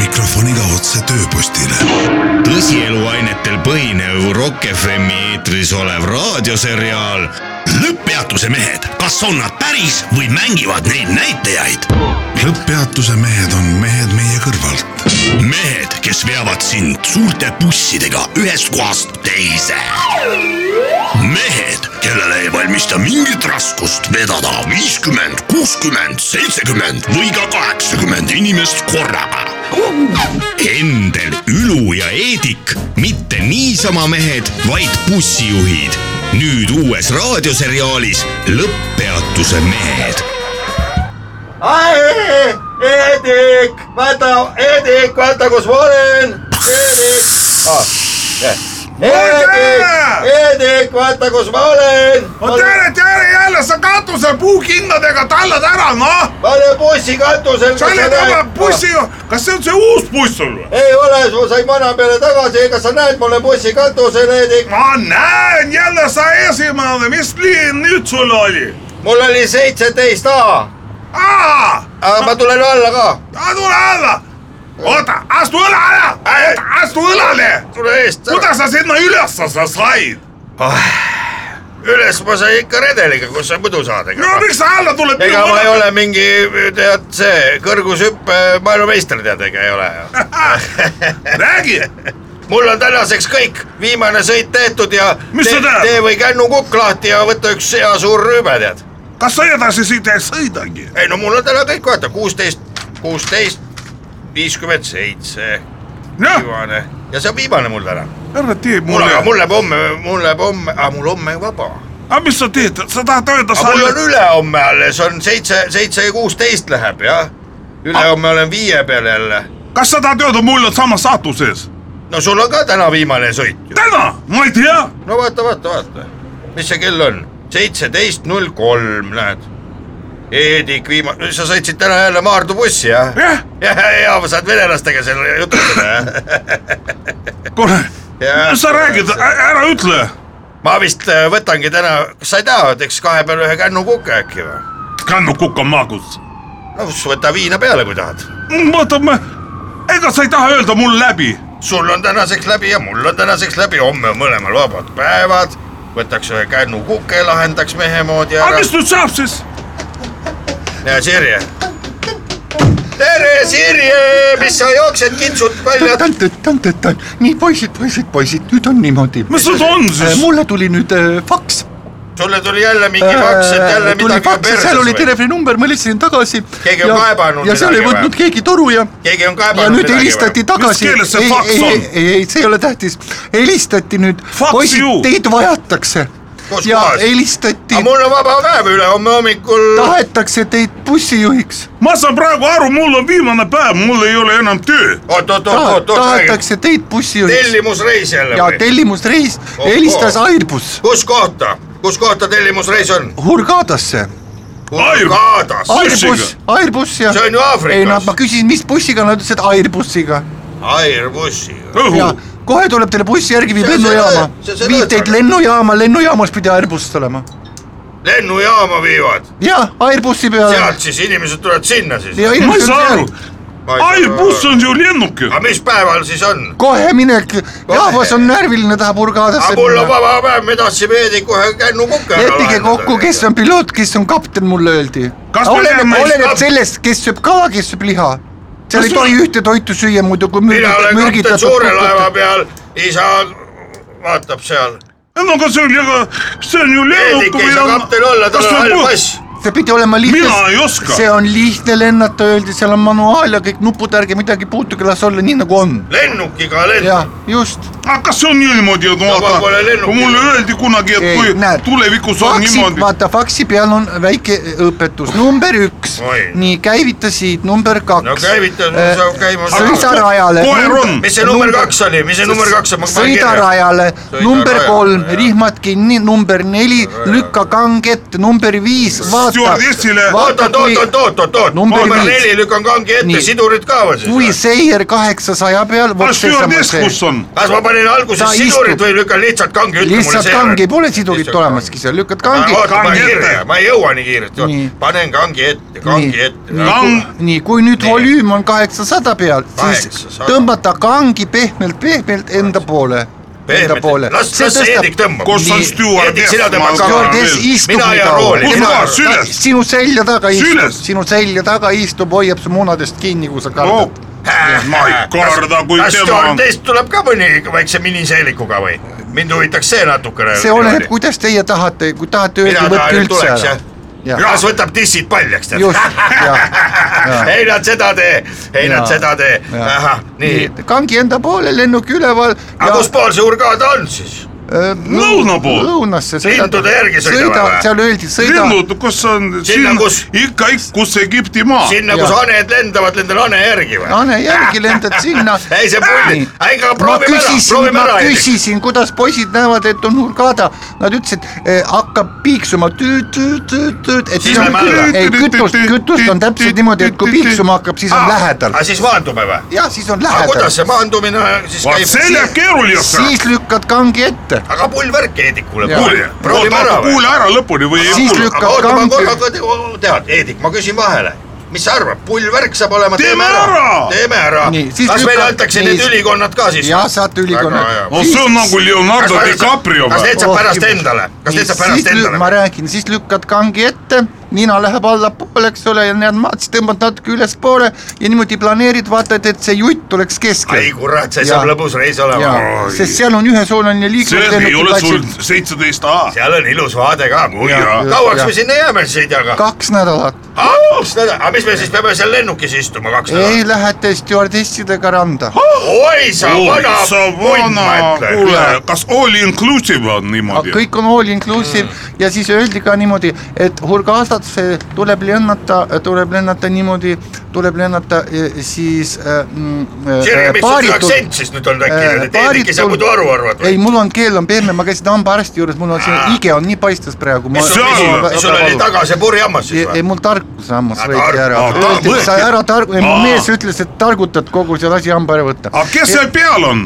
S5: mikrofoniga otse tööpostile . tõsieluainetel põhinev Rock FM-i eetris olev raadioseriaal Lõpppeatuse mehed , kas on nad päris või mängivad neid näitajaid ?
S8: lõpppeatuse mehed on mehed meie kõrvalt .
S5: mehed , kes veavad sind suurte bussidega ühest kohast teise . mehed , kellele ei valmista mingit raskust vedada viiskümmend , kuuskümmend , seitsekümmend või ka kaheksakümmend inimest korraga . Endel , Ülu ja Eedik , mitte niisama mehed , vaid bussijuhid . nüüd uues raadioseriaalis Lõpppeatuse mehed
S1: Edik , vaata , Edik , vaata , kus ma olen . Edik ah, . Edik , Edik , vaata , kus ma olen .
S3: no tere , tere jälle , sa katusel puukingadega tallad ära , noh .
S1: ma olen bussi katusel .
S3: sa olid oma . bussiga , kas see on see uus buss sul või ?
S1: ei ole , ma sain vana peale tagasi , kas sa näed , ma olen bussi katusel , Edik .
S3: ma näen jälle , sa esimene , mis liin nüüd sul oli ?
S1: mul oli seitseteist A ,
S3: aa ,
S1: aga ma tulen alla ka .
S3: tule alla , oota , astu õlale , oota , astu õlale ,
S1: tule eest .
S3: kuidas sa sinna üles sa said ?
S1: üles ma sain ikka redeliga , kus sa muidu saad , ega
S3: no miks sa alla tuled ?
S1: ega ma ei . ole mingi , tead see kõrgushüppe maailmameister , tead , ega ei ole ju .
S3: räägi ,
S1: mul on tänaseks kõik , viimane sõit tehtud ja
S3: Mis sa
S1: tee-
S3: teed?
S1: tee või kännu kukk lahti ja võta üks hea suur rüübe , tead .
S3: kas sa edasi siit ei sõidagi ?
S1: ei no mul on täna kõik , vaata kuusteist , kuusteist , viiskümmend seitse ,
S3: jah ,
S1: viimane ja see on viimane mul täna .
S3: Noh, ära tee
S1: mul , aga
S3: mulle ,
S1: mul läheb homme , mul läheb homme , aga mul homme on vaba .
S3: aga mis sa teed , sa tahad öelda , sa
S1: aga mul on ülehomme alles on seitse , seitse ja kuusteist läheb jah . ülehomme olen viie peal jälle .
S3: kas sa tahad öelda , mul on sama saatuses ?
S1: no sul on ka täna viimane sõit ju .
S3: täna , ma ei tea ,
S1: no vaata , vaata , vaata , mis see kell on , seitseteist null kolm , näed . Eedik viima- , sa sõitsid täna jälle Maardu bussi , jah ?
S3: Jah.
S1: ja , ja ma saan venelastega seal jutustada , jah ?
S3: kuule ,
S1: Jah.
S3: sa räägid , ära ütle ,
S1: ma vist äh, võtangi täna , kas sa ei taha , teeks kahe peale ühe kännukuke äkki või ?
S3: kannu kukamaagus ,
S1: no siis võta viina peale , kui tahad .
S3: võtame , ega sa ei taha öelda mul läbi
S1: sul on tänaseks läbi ja mul on tänaseks läbi , homme on mõlemal vabad päevad , võtaks ühe kännukuke , lahendaks mehe moodi
S3: aga
S1: ära
S3: mis . nüüd saab siis ?
S1: näe , Sirje . tere , Sirje , mis sa jooksed kintsud välja
S2: tõn-tõn-tõn-tõn , nii poisid , poisid , poisid , nüüd on niimoodi .
S3: mis nüüd on siis ?
S2: mulle tuli nüüd äh, faks Äh,
S1: sulle tuli jälle mingi faks , et jälle
S2: tuli
S1: midagi on
S2: faks ja seal oli
S1: perses või ?
S2: telefoninumber , ma helistasin tagasi .
S1: Keegi on kaevanud
S2: ja seal ei
S1: midagi
S2: võtnud
S1: või?
S2: keegi toru ja ,
S1: keegi on
S2: ja
S1: kaevanud
S2: nüüd helistati tagasi .
S3: Mis keeles see faks
S2: ei ,
S3: on?
S2: ei , ei, ei , see ei ole tähtis , helistati nüüd ,
S3: Faks ju!
S2: poisid , teid vajatakse .
S1: Kus
S2: ja
S1: kohas?
S2: helistati
S1: aga , mul on vaba päev ülehomme hommikul .
S2: tahetakse teid bussijuhiks ,
S3: ma saan praegu aru , mul on viimane päev , mul ei ole enam töö .
S1: oot , oot , oot , oot , oot , räägi .
S2: tahetakse teid bussijuhiks
S1: tellimusreis jälle
S2: ja
S1: või ?
S2: tellimusreis
S1: Ohoo.
S2: helistas Airbus
S1: kus kohta , kus kohta tellimusreis on ?
S2: Hurghadasse ,
S1: Hurgadas ,
S2: Airbus , Airbus ja .
S1: See on ju Aafrikas.
S2: ei , nad , ma küsisin , mis bussiga , nad ütlesid Airbusiga
S1: Airbussiga .
S2: ja
S3: õhu ,
S2: kohe tuleb teile buss järgi , viib
S1: See on see
S2: lennujaama
S1: lõe- see on see ,
S2: viib teid
S1: lõõtsaga.
S2: lennujaama , lennujaamas pidi Airbus olema .
S1: lennujaama viivad ,
S2: jaa , Airbusi peale .
S1: sealt siis inimesed tulevad sinna siis .
S2: ja
S3: ma ei saa aru
S2: ilmselt ,
S3: ai , buss on ju lennuk ju .
S1: aga mis päeval siis on ?
S4: kohe minek , rahvas on närviline , tahab
S1: aga
S4: urgaadasse
S1: mul on . vaba päev , me tahtsime Heedi kohe kännukukke ära
S4: leppige kokku , kes on piloot , kes on kapten , mulle öeldi .
S3: Kas me
S4: oleneb
S3: teame- ,
S4: oleneb sellest , kes sööb kala , kes sööb liha . seal ei
S3: sul-
S4: tohi ühte toitu süüa , muidu kui
S1: mina
S4: mürgit-
S1: olen kapten suure laeva
S4: mürgitatud .
S1: peal , isa vaatab seal .
S3: no aga see on ju , see on ju lennuk .
S1: Heedik ei saa kapten olla , tal on hall pass .
S4: see pidi olema lihtne .
S3: Mina ei oska.
S4: see on lihtne lennata , öeldi , seal on manuaal ja kõik nupud , ärge midagi puutuge , las olla nii nagu on .
S1: lennukiga
S4: jah
S1: lendab . ,
S4: just .
S3: aga Ah, kas see on niimoodi , et
S1: Vaba
S3: vaata
S1: pole , lennuki.
S3: mulle öeldi kunagi , et kui tulevikus on
S4: faksi,
S3: niimoodi .
S4: vaata faksi peal on väike õpetus , number üks
S1: Oi. ,
S4: nii käivita siit , number kaks .
S1: No käivita, no
S4: Eh,
S1: saab käima
S4: sõida
S1: saada.
S4: rajale .
S3: Koer on.
S1: mis see number kaks oli , mis see number kaks on ?
S4: sõida . rajale ,
S1: Sõida
S4: number
S1: rajale,
S4: kolm
S1: jah. ,
S4: rihmad kinni , number neli , lükka kang ette , number viis , vaata .
S3: Stjuardessile-
S1: oot , oot , oot , oot , oot , oot , oot ,
S4: Number
S1: number
S4: viis.
S1: neli lükkan kangi ette ,
S4: Nii.
S1: sidurid ka või
S4: kui
S1: siis ?
S4: seier kaheksasaja peal .
S3: kas stjuardess , kus on ?
S1: kas ma panin alguses
S4: Ta
S1: sidurid
S4: istub.
S1: või lükkan lihtsalt kangi , ütle mulle
S4: lihtsalt
S1: see .
S4: kangi , pole sidurit olemaski seal , lükkad kangi .
S1: oota , ma ei
S3: Kangi
S1: kirja
S3: ette. ,
S1: ma ei jõua nii kiiresti
S4: Nii. ,
S1: panen kangi ette , kangi ette .
S3: Kang-
S4: nii , kui nüüd
S1: Nii.
S4: volüüm on kaheksasada peal , siis
S1: 800.
S4: tõmbata kangi pehmelt , pehmelt enda poole , enda poole .
S1: las , las see Heedik tõmbab .
S3: kus on
S4: Nii.
S1: Heedik ,
S3: stjuardess
S1: sina ? tõmbad
S4: Stjuardess
S1: kangi .
S4: istub
S1: mina
S4: nii
S1: ajan
S4: kaua.
S1: rooli ,
S3: Kus
S1: mina
S3: kohas?
S1: ajan
S3: Süles?
S4: sinu selja taga istub ,
S3: Süles?
S4: sinu selja taga istub , hoiab su munadest kinni , kui sa
S3: no
S4: kardad .
S3: ma ei karda , kui
S1: Äh, kas
S3: tema on .
S1: stjuardess tuleb ka mõni väikse miniseelikuga või ? mind huvitaks see natukene .
S4: see oleneb , kuidas teie tahate , kui tahate
S1: Mina
S4: öelda ,
S1: tahan,
S4: võtke
S1: et
S4: üldse
S1: tuleks,
S4: ära
S1: jah. .
S4: jah ,
S1: rahvas võtab dissid paljaks , <laughs> tead .
S4: just , jah ,
S1: ei nad seda tee , ei
S4: Jaa.
S1: nad seda tee ,
S4: jah .
S1: ahah , nii .
S4: kangi enda poole , lennuk üleval .
S1: aga kus pool see urgaad on siis ?
S3: Lõuna pool.
S4: lõunasse
S1: Lindude järgi sõidame või?
S4: seal öeldi , sõida .
S3: lennud , kus on , sinna
S1: kus- ,
S3: ikka , kus Egipti maa .
S1: sinna ,
S4: Jaa.
S1: kus haned lendavad , lendan hane järgi või ?.
S4: Ane järgi lendad sinna
S1: <laughs> Ei, see pulli- ei, aga proovime
S4: ma
S1: ära,
S4: küsisin ,
S1: proovime
S4: ma
S1: ära, Hendrik.
S4: küsisin , kuidas poisid näevad , et on hurgada , nad ütlesid eh, , hakkab piiksuma tüüt-tüüt-tüüt-tüüt , et
S1: Siis
S4: siis on
S1: läheme alla. ,
S4: ei kütust , kütust on täpselt niimoodi , et kui piiksuma hakkab , siis on lähedal
S1: aga . siis maandume või ?
S4: jah , siis on
S1: Ah. aga kuidas
S4: lähedal .
S1: see maandumine siis
S3: vaat see
S1: käib ?
S3: läheb keeruliseks .
S4: siis lükkad kangi ette ,
S1: aga pull värk Heedikule ,
S4: Jaa.
S1: kuulge , proovime ära või ?
S3: kuule ära lõpuni või ei
S4: Siis
S3: kuule .
S4: lükka-
S1: aga oota , ma
S4: kangi-
S1: korra ka te- tead , Heedik , ma küsin vahele . mis sa arvad , pull värk saab olema ,
S3: Teeme
S1: teeme ära
S3: ära! ,
S1: teeme ära .
S4: Nii, siis
S1: kas meile
S4: lükka-
S1: antakse
S4: nii,
S1: need
S4: siis-
S1: ülikonnad ka siis ?
S4: jah , saad ülikonna .
S3: no see on nagu Leonardo DiCaprio
S1: kas
S3: või
S1: need ? saab
S4: Oh,
S1: pärast
S4: jumal.
S1: endale , kas need saab
S4: siis
S1: pärast
S4: lü-
S1: endale
S4: ma ? räägin , siis lükkad kangi ette , nina läheb allapoole , eks ole , ja näed maad , siis tõmbad natuke ülespoole ja niimoodi planeerid , vaatad , et see jutt tuleks
S1: ai
S4: keskele .
S1: kurat , see saab
S4: Jaa.
S1: lõbus reis olema .
S4: jaa , sest seal on ühesuunaline
S3: see
S4: liiklus
S3: ei ole sul seitseteist A .
S1: seal on ilus vaade ka .
S3: jaa.
S1: kauaks me sinna jääme siis ei tea ka .
S4: kaks nädalat ,
S1: kaks nädalat , aga mis me siis peame seal lennukis istuma kaks
S4: ei
S1: nädalat ?
S4: lähete stjuardessidega randa .
S1: oi sa vana
S3: sa
S1: punn ,
S3: vana
S1: ma , ütlen .
S3: kuule , kas all inclusive on niimoodi ?
S4: kõik on all inclusive mm. ja siis öeldi ka niimoodi , et Hurghadasse tuleb lennata , tuleb lennata niimoodi , tuleb lennata eh, siis äh, mm, äh,
S1: Sirge , mis sul see
S4: paaritud- e, Äh,
S1: aktsent siis nüüd on tekkinud , et Hendrik ei saa muidu aru arvata
S4: ei ,? mul on keel on pehme , ma käisin hambaarsti juures , mul on siin hige on nii paistes praegu .
S1: mis sul
S3: seal on-
S1: mis sul oli taga see purjhammas siis
S4: ei ,
S1: või ? Ah,
S4: mul tarkus hammas
S1: Aa,
S4: võeti
S1: tark-
S4: ära
S3: aa, , tark-
S4: öeldi , et sa
S3: võeti-
S4: ära targu- , mu
S1: Ah.
S3: Aa.
S4: mees ütles , et targutad kogu selle asi hamba ära võtta .
S3: aga kes seal peal on ?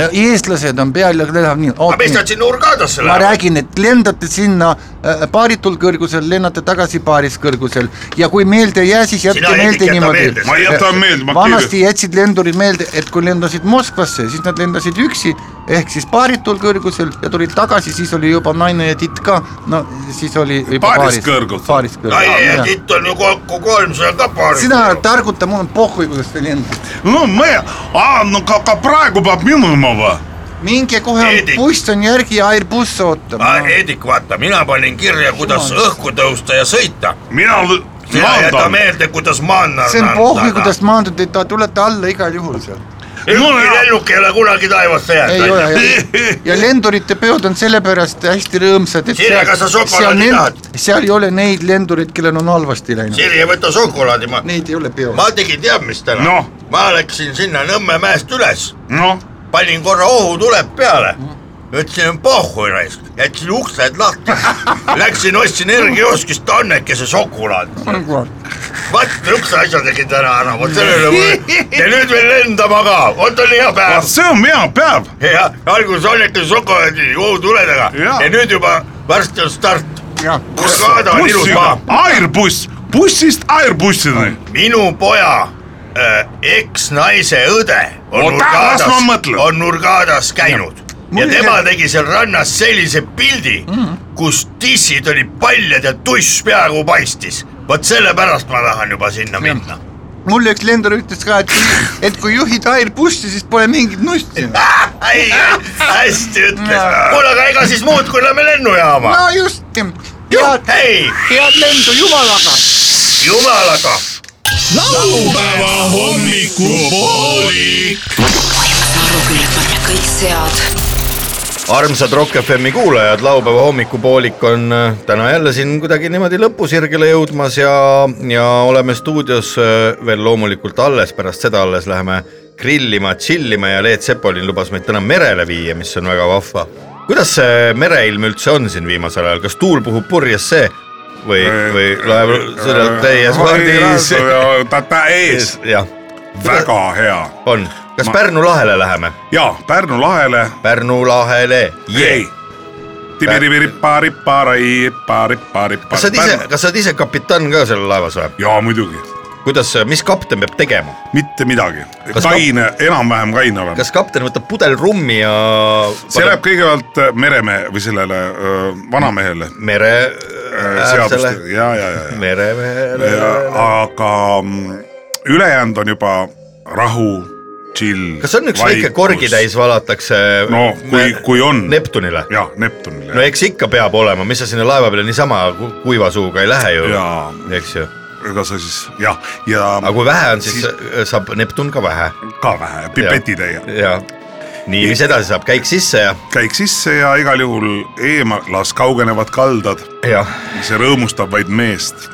S4: eestlased on peal ja läheb nii ,
S1: aga Ah, mis nad
S4: oot ,
S1: sinna Urgadasse
S4: ma
S1: lähevad ?
S4: räägin , et lendate sinna äh, paaritul kõrgusel , lennate tagasi paaris kõrgusel ja kui meelde ei jää , siis jätke
S1: Sina, Hendrik,
S4: meelde
S1: jäta
S4: niimoodi
S1: meelde.
S3: ma ei jäta meelde , ma
S4: eh, vanasti
S3: kirjutan .
S4: jätsid lendurid meelde , et kui lendasid Moskvasse , siis nad lendasid üksi ehk siis paaritul kõrgusel ja tulid tagasi , siis oli juba naine ja titt ka , no siis oli juba
S3: Paarist kõrgusel.
S4: paarist
S1: naine ja
S4: kõrgusel .
S1: titt on ju kokku kolmsada ka paar .
S4: sina targuta , mul on pohhui , kuidas te lendate .
S3: no ma , aa , no ka , ka praegu peab minema või ?
S4: minge kohe
S1: Eedik. ,
S4: buss on järgi ja Airbus ootab .
S1: Heedik , vaata , mina panin kirja , kuidas õhku tõusta ja sõita .
S3: mina
S1: sina jäta
S3: maandan .
S1: meelde , kuidas maandan .
S4: see on pohhui , kuidas maanduda , te tulete alla igal juhul seal .
S1: ükski lennuk ei ole kunagi taevasse
S4: ei ole
S1: jäänud . <laughs>
S4: ja, <laughs> ja lendurite peod on sellepärast hästi rõõmsad , et
S1: Sirje, kas sa šokolaadi tahad?
S4: seal, seal ei ole neid lendureid , kellel on halvasti läinud .
S1: Sirje , võta šokolaadi , ma ,
S4: Neid ei ole peol .
S1: ma tegin teab mis täna
S3: Noh.
S1: ma läksin sinna Nõmme mäest üles ,
S3: noh ,
S1: panin korra ohutuled peale , ütlesin pohhu raisk , jätsin uksed lahti , läksin ostsin energiaoskist tannekese šokolaadi . vaat niisuguse asja tegin täna ära , vot selle üle mul ja nüüd veel lendama ka , vot oli hea päev .
S3: see on hea päev .
S1: ja alguses anneti šokolaadi ohutuledega ja.
S3: Jaa.
S1: ja nüüd juba varsti on start . Hurgaada on ilus maa ,
S3: Airbuss , bussist Airbussini .
S1: minu poja äh, eksnaise õde on
S3: Oota, las ma
S1: nurgadas
S3: mõtlen. ,
S1: on nurgadas käinud ja, ja tema tegi seal rannas sellise pildi
S3: Mhm.
S1: mm. , kus tissid olid paljad ja tuss peaaegu paistis . vot sellepärast ma tahan juba sinna minna .
S2: mulle üks lendur ütles ka , et kui, et kui juhid airbussi , siis pole mingit nusti .
S1: ei , hästi ütles . kuule , aga ega siis muud , kui lähme lennujaama
S2: no just ,
S1: no, .
S2: head ,
S1: ei ,
S2: head lendu jumalaga .
S1: jumalaga .
S5: laupäeva hommikupoolik .
S6: Sarukülle panna kõik sead .
S1: armsad Rock FM-i kuulajad , laupäeva hommikupoolik on äh, täna jälle siin kuidagi niimoodi lõpusirgele jõudmas ja , ja oleme stuudios äh, veel loomulikult alles , pärast seda alles läheme grillima , tšillima ja Leet Sepolin lubas meid täna merele viia , mis on väga vahva . kuidas see mereilm üldse on siin viimasel ajal , kas tuul puhub purjes see või , või laev
S3: Äh,
S1: sõidab täies vardis ?
S3: tätä ees ,
S1: jah ,
S3: väga hea
S1: on . kas
S3: Ma-
S1: Pärnu lahele läheme ?
S3: ja Pärnu lahele .
S1: Pärnu lahele , jee
S3: ei . tibiribirippa-rippa-rai , rippa-rippa-rippa .
S1: kas sa oled ise , kas sa oled ise kapitan ka seal laevas või ?
S3: ja muidugi ,
S1: kuidas , mis kapten peab tegema ,
S3: mitte midagi
S1: Kas .
S3: kaine , enam-vähem kaine olen .
S1: kas kapten võtab pudel rummi ja
S3: see läheb kõigepealt äh, meremehe või sellele öö, vanamehele .
S1: mere
S3: Äh,
S1: äh,
S3: seaduste , ja , ja , ja ,
S1: meremehele
S3: ja , aga mm, ülejäänud on juba rahu , chill .
S1: kas on üks väike korgitäis valatakse
S3: no kui , kui on .
S1: Neptunile ?
S3: jah , Neptunile
S1: no eks ikka peab olema , mis sa sinna laeva peale niisama ku- kuiva suuga ei lähe ju ,
S3: Jaa.
S1: eks ju .
S3: ega sa siis jah , ja
S1: aga kui vähe on , siis äh,
S3: Siis-
S1: saab Neptun ka vähe .
S3: ka vähe , pipetitäie .
S1: ja nii , mis edasi saab , käik sisse ja ,
S3: käik sisse ja igal juhul eemal , las kaugenevad kaldad ,
S1: ja
S3: see rõõmustab vaid meest .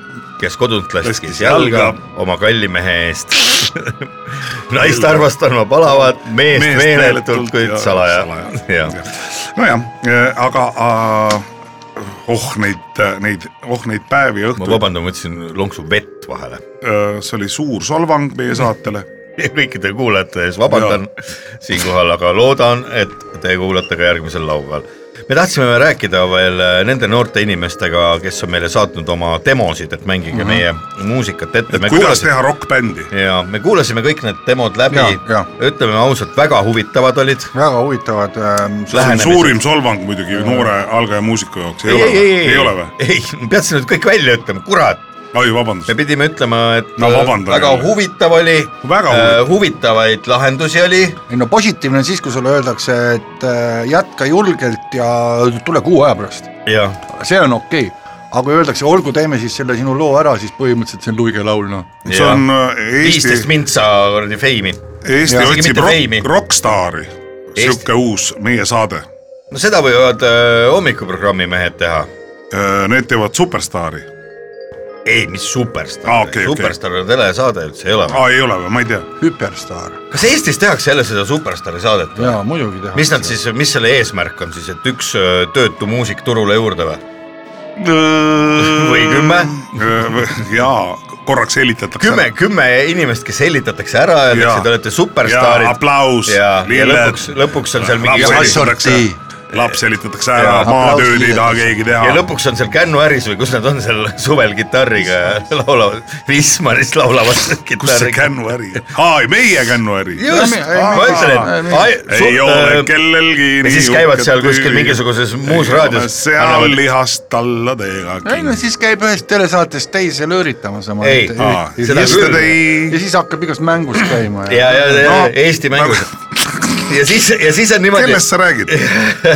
S1: kes kodunt laskis
S3: Laskis
S1: jalga
S3: jalga.
S1: oma kalli mehe
S3: <laughs>
S1: eest . naist armastama palavat , meest
S3: Meest
S1: meeletult ,
S3: meeletult
S1: kuid
S3: ja
S1: salaja
S3: salaja. .
S1: jah ,
S3: nojah , aga äh, oh neid , neid , oh neid päevi ja
S1: ma
S3: õhtuid ,
S1: vabandan , ma ütlesin lonksu vett vahele . <laughs>
S3: see oli suur solvang meie saatele .
S1: kõikide kuulajate ees vabandan <laughs> siinkohal , aga loodan , et te kuulate ka järgmisel laupäeval . me tahtsime rääkida veel äh, nende noorte inimestega , kes on meile saatnud oma demosid , et mängige meie muusikat ette .
S3: Mhm. kuidas teha rokkbändi ?
S1: ja me kuulasime kõik need demod läbi
S4: Jaa, jaa. ,
S1: ütleme ausalt , väga huvitavad olid .
S4: väga huvitavad ähm, .
S3: see on
S1: lähenemised.
S3: suurim solvang muidugi noore algaja muusiku jaoks , ei
S1: ei ,
S3: ole
S1: ei , ei ,
S3: või
S1: ei ,?
S3: ei ole või ?
S1: ei , pead sa nüüd kõik välja ütlema , kurat ,
S3: oi ,
S1: me
S3: vabandust .
S1: pidime ütlema , et äh,
S3: No vabandan
S1: väga
S3: jälle.
S1: huvitav oli ,
S3: Väga huvitav.
S1: huvitavaid lahendusi oli ,
S4: ei no positiivne on siis , kui sulle öeldakse , et äh, jätka julgelt ja tule kuu aja pärast ,
S1: jah ,
S4: see on okei okay. . aga kui öeldakse , olgu , teeme siis selle sinu loo ära , siis põhimõtteliselt see on luige laul , noh .
S3: see on äh,
S1: viisteist
S3: Eesti ,
S1: mintsa kuradi feimi .
S3: Eesti
S1: isegi mitte
S3: otsib
S1: feimi.
S3: rock , rokkstaari .
S1: Eesti-
S3: sihuke uus meie saade .
S1: no seda võivad öö, hommikuprogrammi mehed teha .
S3: Eh, Need teevad superstaari .
S1: ei , mis superstaar
S3: Aa, Ah, okei, okei.
S1: superstaar on telesaade üldse ei ole .
S3: aa , Ah, ei ole või , ma ei tea .
S4: hüperstaar .
S3: Ah.
S1: kas Eestis tehakse jälle seda superstaari saadet või ?
S4: jaa , muidugi tehakse .
S1: mis nad ? siis , mis selle eesmärk on siis , et üks öö, töötu muusik turule juurde või ? või kümme ?
S3: jaa , korraks helitatakse .
S1: kümme , kümme inimest , kes hellitatakse ära , öeldakse ,
S3: Jaa.
S1: te olete
S3: ja
S1: superstaarid .
S3: aplaus ,
S1: ja , ja lõpuks , lõpuks on seal mingi
S4: Laps-
S1: ja,
S4: Assortii.
S3: laps helitatakse ära
S1: Jaa. ,
S3: maatööd ei taha keegi
S1: ja
S3: teha .
S1: lõpuks on seal Kännuäris või kus nad on seal suvel kitarriga ja laulavad , Wismaris laulavad
S3: kus see
S1: kitarriga .
S3: kännu äri , aa , meie kännu äri .
S1: just , ma ütlen , et äh,
S3: ei ole . kellelgi .
S1: ja siis käivad seal kuskil mingisuguses muus raadios .
S3: seal lihast talladega
S4: ei no
S3: kinni .
S4: siis käib ühest telesaatest teise lööritamas oma .
S1: Ei,
S4: ja
S1: seda küll.
S3: Yesterday ,
S4: siis hakkab igast mängust käima
S1: ja , ja , ja
S3: No. Nagu-
S1: Eesti mängus . ja siis , ja siis on niimoodi .
S3: kellest sa räägid ?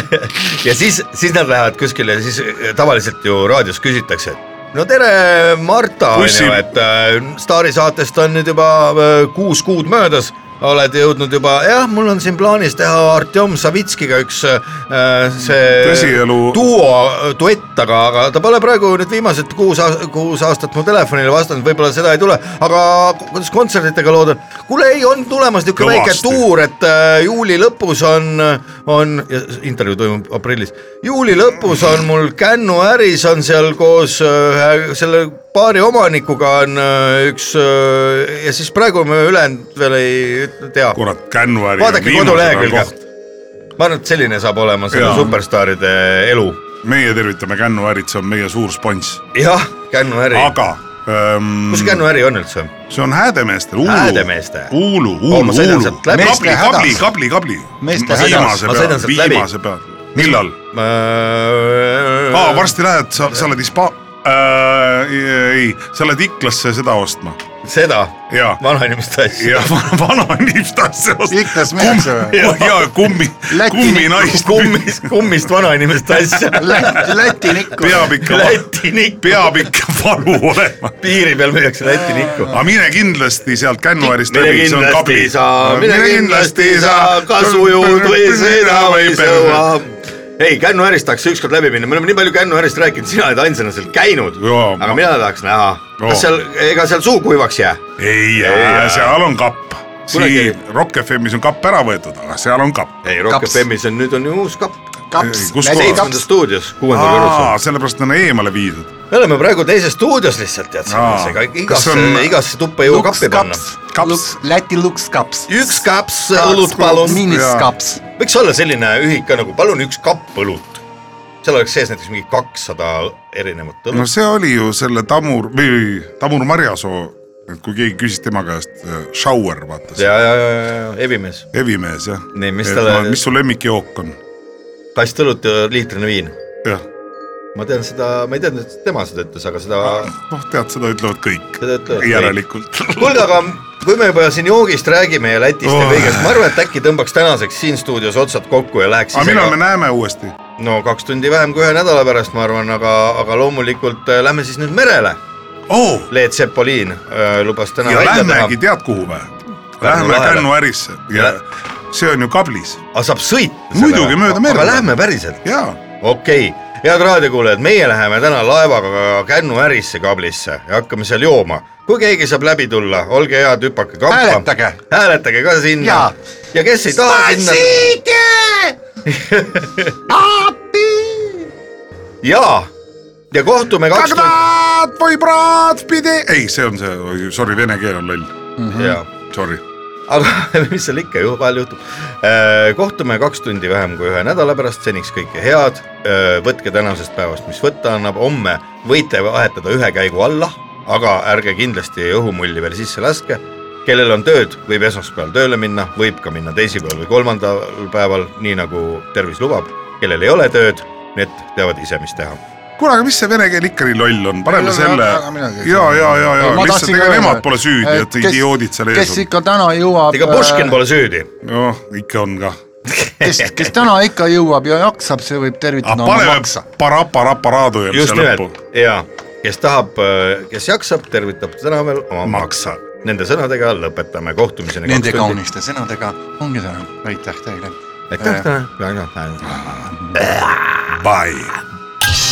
S1: <laughs> ja siis , siis nad lähevad kuskile , siis äh, tavaliselt ju raadios küsitakse , et no tere , Marta ,
S3: Bussi-
S1: onju , et äh, Staari saatest on nüüd juba äh, kuus kuud möödas , oled jõudnud juba , jah , mul on siin plaanis teha Artjom Savitskiga üks äh, see
S3: Tõsielu-
S1: duo , duett , aga , aga ta pole praegu nüüd viimased kuus , kuus aastat mu telefonile vastanud , võib-olla seda ei tule , aga kuidas kontsertidega lood on ? kuule , ei , on tulemas niisugune väike
S3: Kõvasti.
S1: tuur , et äh, juuli lõpus on , on , intervjuu toimub aprillis , juuli lõpus on mul Kännu äris on seal koos äh, ühe selle baari omanikuga on äh, üks äh, ja siis praegu me ülejäänud veel ei üt- tea .
S3: kurat , kännu äri .
S1: vaadake kodulehekülge . ma arvan , et selline saab olema selle
S3: Jaa.
S1: superstaaride elu .
S3: meie tervitame Kännu ärit , see on meie suur spons ,
S1: jah , Kännu äri .
S3: aga ähm,
S1: kus see kännuäri on üldse ?
S3: see on häädemeestel , Uulu .
S1: Häädemeeste.
S3: Uulu ,
S1: Oo,
S3: Uulu ,
S1: ma sõidan
S3: Uulu .
S1: sealt läbi.
S3: kabli
S4: Meeste , hädas.
S3: kabli , kabli , kabli .
S4: Meeste
S3: ma
S4: hädas.
S3: viimase
S1: Ma
S3: peal
S1: sõidan , sealt läbi.
S3: viimase peal . millal ? aa ,
S1: aa ,
S3: varsti lähed , sa , sa oled Hispa- äh, . ei , sa lähed Iklasse seda ostma .
S1: äh, seda
S3: Jaa.
S1: vanainimeste asja .
S3: <laughs> ja vanainimest asja
S4: Iklas minnakse
S3: <laughs>
S4: või ?
S3: ostma . ja kummi ,
S4: Läti-
S3: kumminaist
S1: kummist , kummist vanainimeste asja <laughs>
S4: Läti , Läti nikku .
S3: peab ikka ,
S1: Läti nikku ,
S3: peab ikka valu olema .
S1: piiri peal müüakse Läti nikku .
S3: aga mine kindlasti sealt kännuäärist
S1: mine
S3: läbi , see on
S1: kindlasti
S3: kabli
S1: ei . saa , mine kindlasti ei saa , kas ujud või sõida või sõua . ei , kännuärist tahaks ükskord läbi minna , me oleme nii palju kännuärist rääkinud , sina oled ainsana seal käinud ,
S3: Jaa,
S1: aga
S3: ma-
S1: mina tahaks näha ,
S3: Joo.
S1: kas seal , ega seal suu kuivaks jää ? Ei,
S3: ei jää , seal on kapp .
S1: Kunagi-
S3: siin Rock FM-is on kapp ära võetud , aga seal on kapp .
S1: ei , Rock
S4: Kaps.
S1: FM-is on , nüüd on ju uus kapp ,
S4: kaps ,
S3: Kus
S4: Läti
S3: kohas?
S1: seitsmendas
S4: kaps .
S1: stuudios , kuuendal
S3: aa ,
S1: korrusel .
S3: sellepärast on eemale viidud .
S1: me oleme praegu teises stuudios lihtsalt , tead sa
S3: Aa. ,
S1: ega
S3: Kas
S1: igasse
S3: on- ,
S1: igasse tuppa ei jõua
S4: Lux
S1: kappi panna .
S4: kaps , kaps , Läti Lux kaps .
S1: üks kaps õlut , palun .
S4: miiniskaps .
S1: võiks olla selline ühik ka nagu palun üks kapp õlut . seal oleks sees näiteks mingi kakssada erinevat
S3: no
S1: õlut
S3: see oli ju selle Tamur , või Tamur Marjasoo , et kui keegi küsis tema käest , Shower , vaata
S1: no, .
S3: see
S1: ja , ja , ja , ja , ja hevimees ,
S3: hevimees jah .
S1: Nii, mis
S3: et
S1: talle-
S3: ma- mis su lemmikjook on ?
S1: kast õlut ja liitrine viin .
S3: jah ,
S1: ma tean seda , ma ei teadnud , et tema seda ütles , aga seda ,
S3: noh , tead , seda ütlevad kõik .
S1: seda ütlevad kõik.
S3: järelikult .
S1: kuulge , aga kui me juba siin joogist räägime ja Lätist ja
S3: Oh.
S1: kõigest , ma arvan , et äkki tõmbaks tänaseks siin stuudios otsad kokku ja läheks
S3: aga
S1: ise
S3: millal
S1: ka
S3: me näeme uuesti ?
S1: no kaks tundi vähem kui ühe nädala pärast , ma arvan , aga , aga loomulikult äh, lähme siis nüüd merele .
S3: oo ,
S1: Leet Sepoliin äh, lubas täna
S3: Oh, ja
S1: välja teha
S3: lähmegi , tead kuhu või ? Lähme
S1: lahele.
S3: kännuärisse ja
S1: Ja-
S3: see on ju kablis .
S1: aga saab sõita .
S3: Muidugi, mööda merd.
S1: aga lähme päriselt .
S3: jaa ,
S1: okei okay. , head raadiokuulajad , meie läheme täna laevaga Kännuärisse kablisse ja hakkame seal jooma . kui keegi saab läbi tulla , olge head , hüpake kampa .
S4: Hääletage.
S1: hääletage ka sinna .
S4: Jaa.
S1: ja kes ei taha sinna . ja , ja kohtume kaks tundi .
S3: Kagnat või Bratpidi , ei , see on see , sorry , vene keel on loll ,
S1: jaa ,
S3: sorry .
S1: aga <laughs> mis seal ikka ju vahel juhtub . kohtume kaks tundi vähem kui ühe nädala pärast , seniks kõike head . võtke tänasest päevast , mis võtta annab , homme võite vahetada ühe käigu alla , aga ärge kindlasti õhumulli veel sisse laske kellel on tööd , võib esmaspäeval tööle minna , võib ka minna teisipäeval või kolmandal päeval , nii nagu tervis lubab . kellel ei ole tööd , need teavad ise , mis teha .
S3: kuule , aga mis see vene keel ikka nii loll on , paneme
S4: Ei,
S3: selle
S4: aga- aga minagi ei
S3: ja ,
S4: saa.
S3: ja , ja , ja
S4: Ma
S3: lihtsalt
S4: tahtsin ka
S3: ega nemad
S4: öelda, Äh,
S3: pole süüdi , et
S4: kes-
S3: idioodid seal ees
S4: kes
S3: on .
S4: ikka täna jõuab .
S1: ega Puškin pole süüdi .
S3: noh , ikka on ka .
S4: kes , kes täna ikka jõuab ja jaksab , see võib tervitada
S3: aga
S4: oma
S3: Ah, paneme
S4: maksa .
S3: paraparaparaadu ja
S1: just
S3: siia lõppu .
S1: nimelt ja kes tahab , kes jaksab , tervitab täna veel oma maksa . Nende sõnadega lõpetame kohtumiseni .
S2: Nende . kauniste sõnadega ongi täna , aitäh teile .
S1: aitäh täna .
S3: Bye .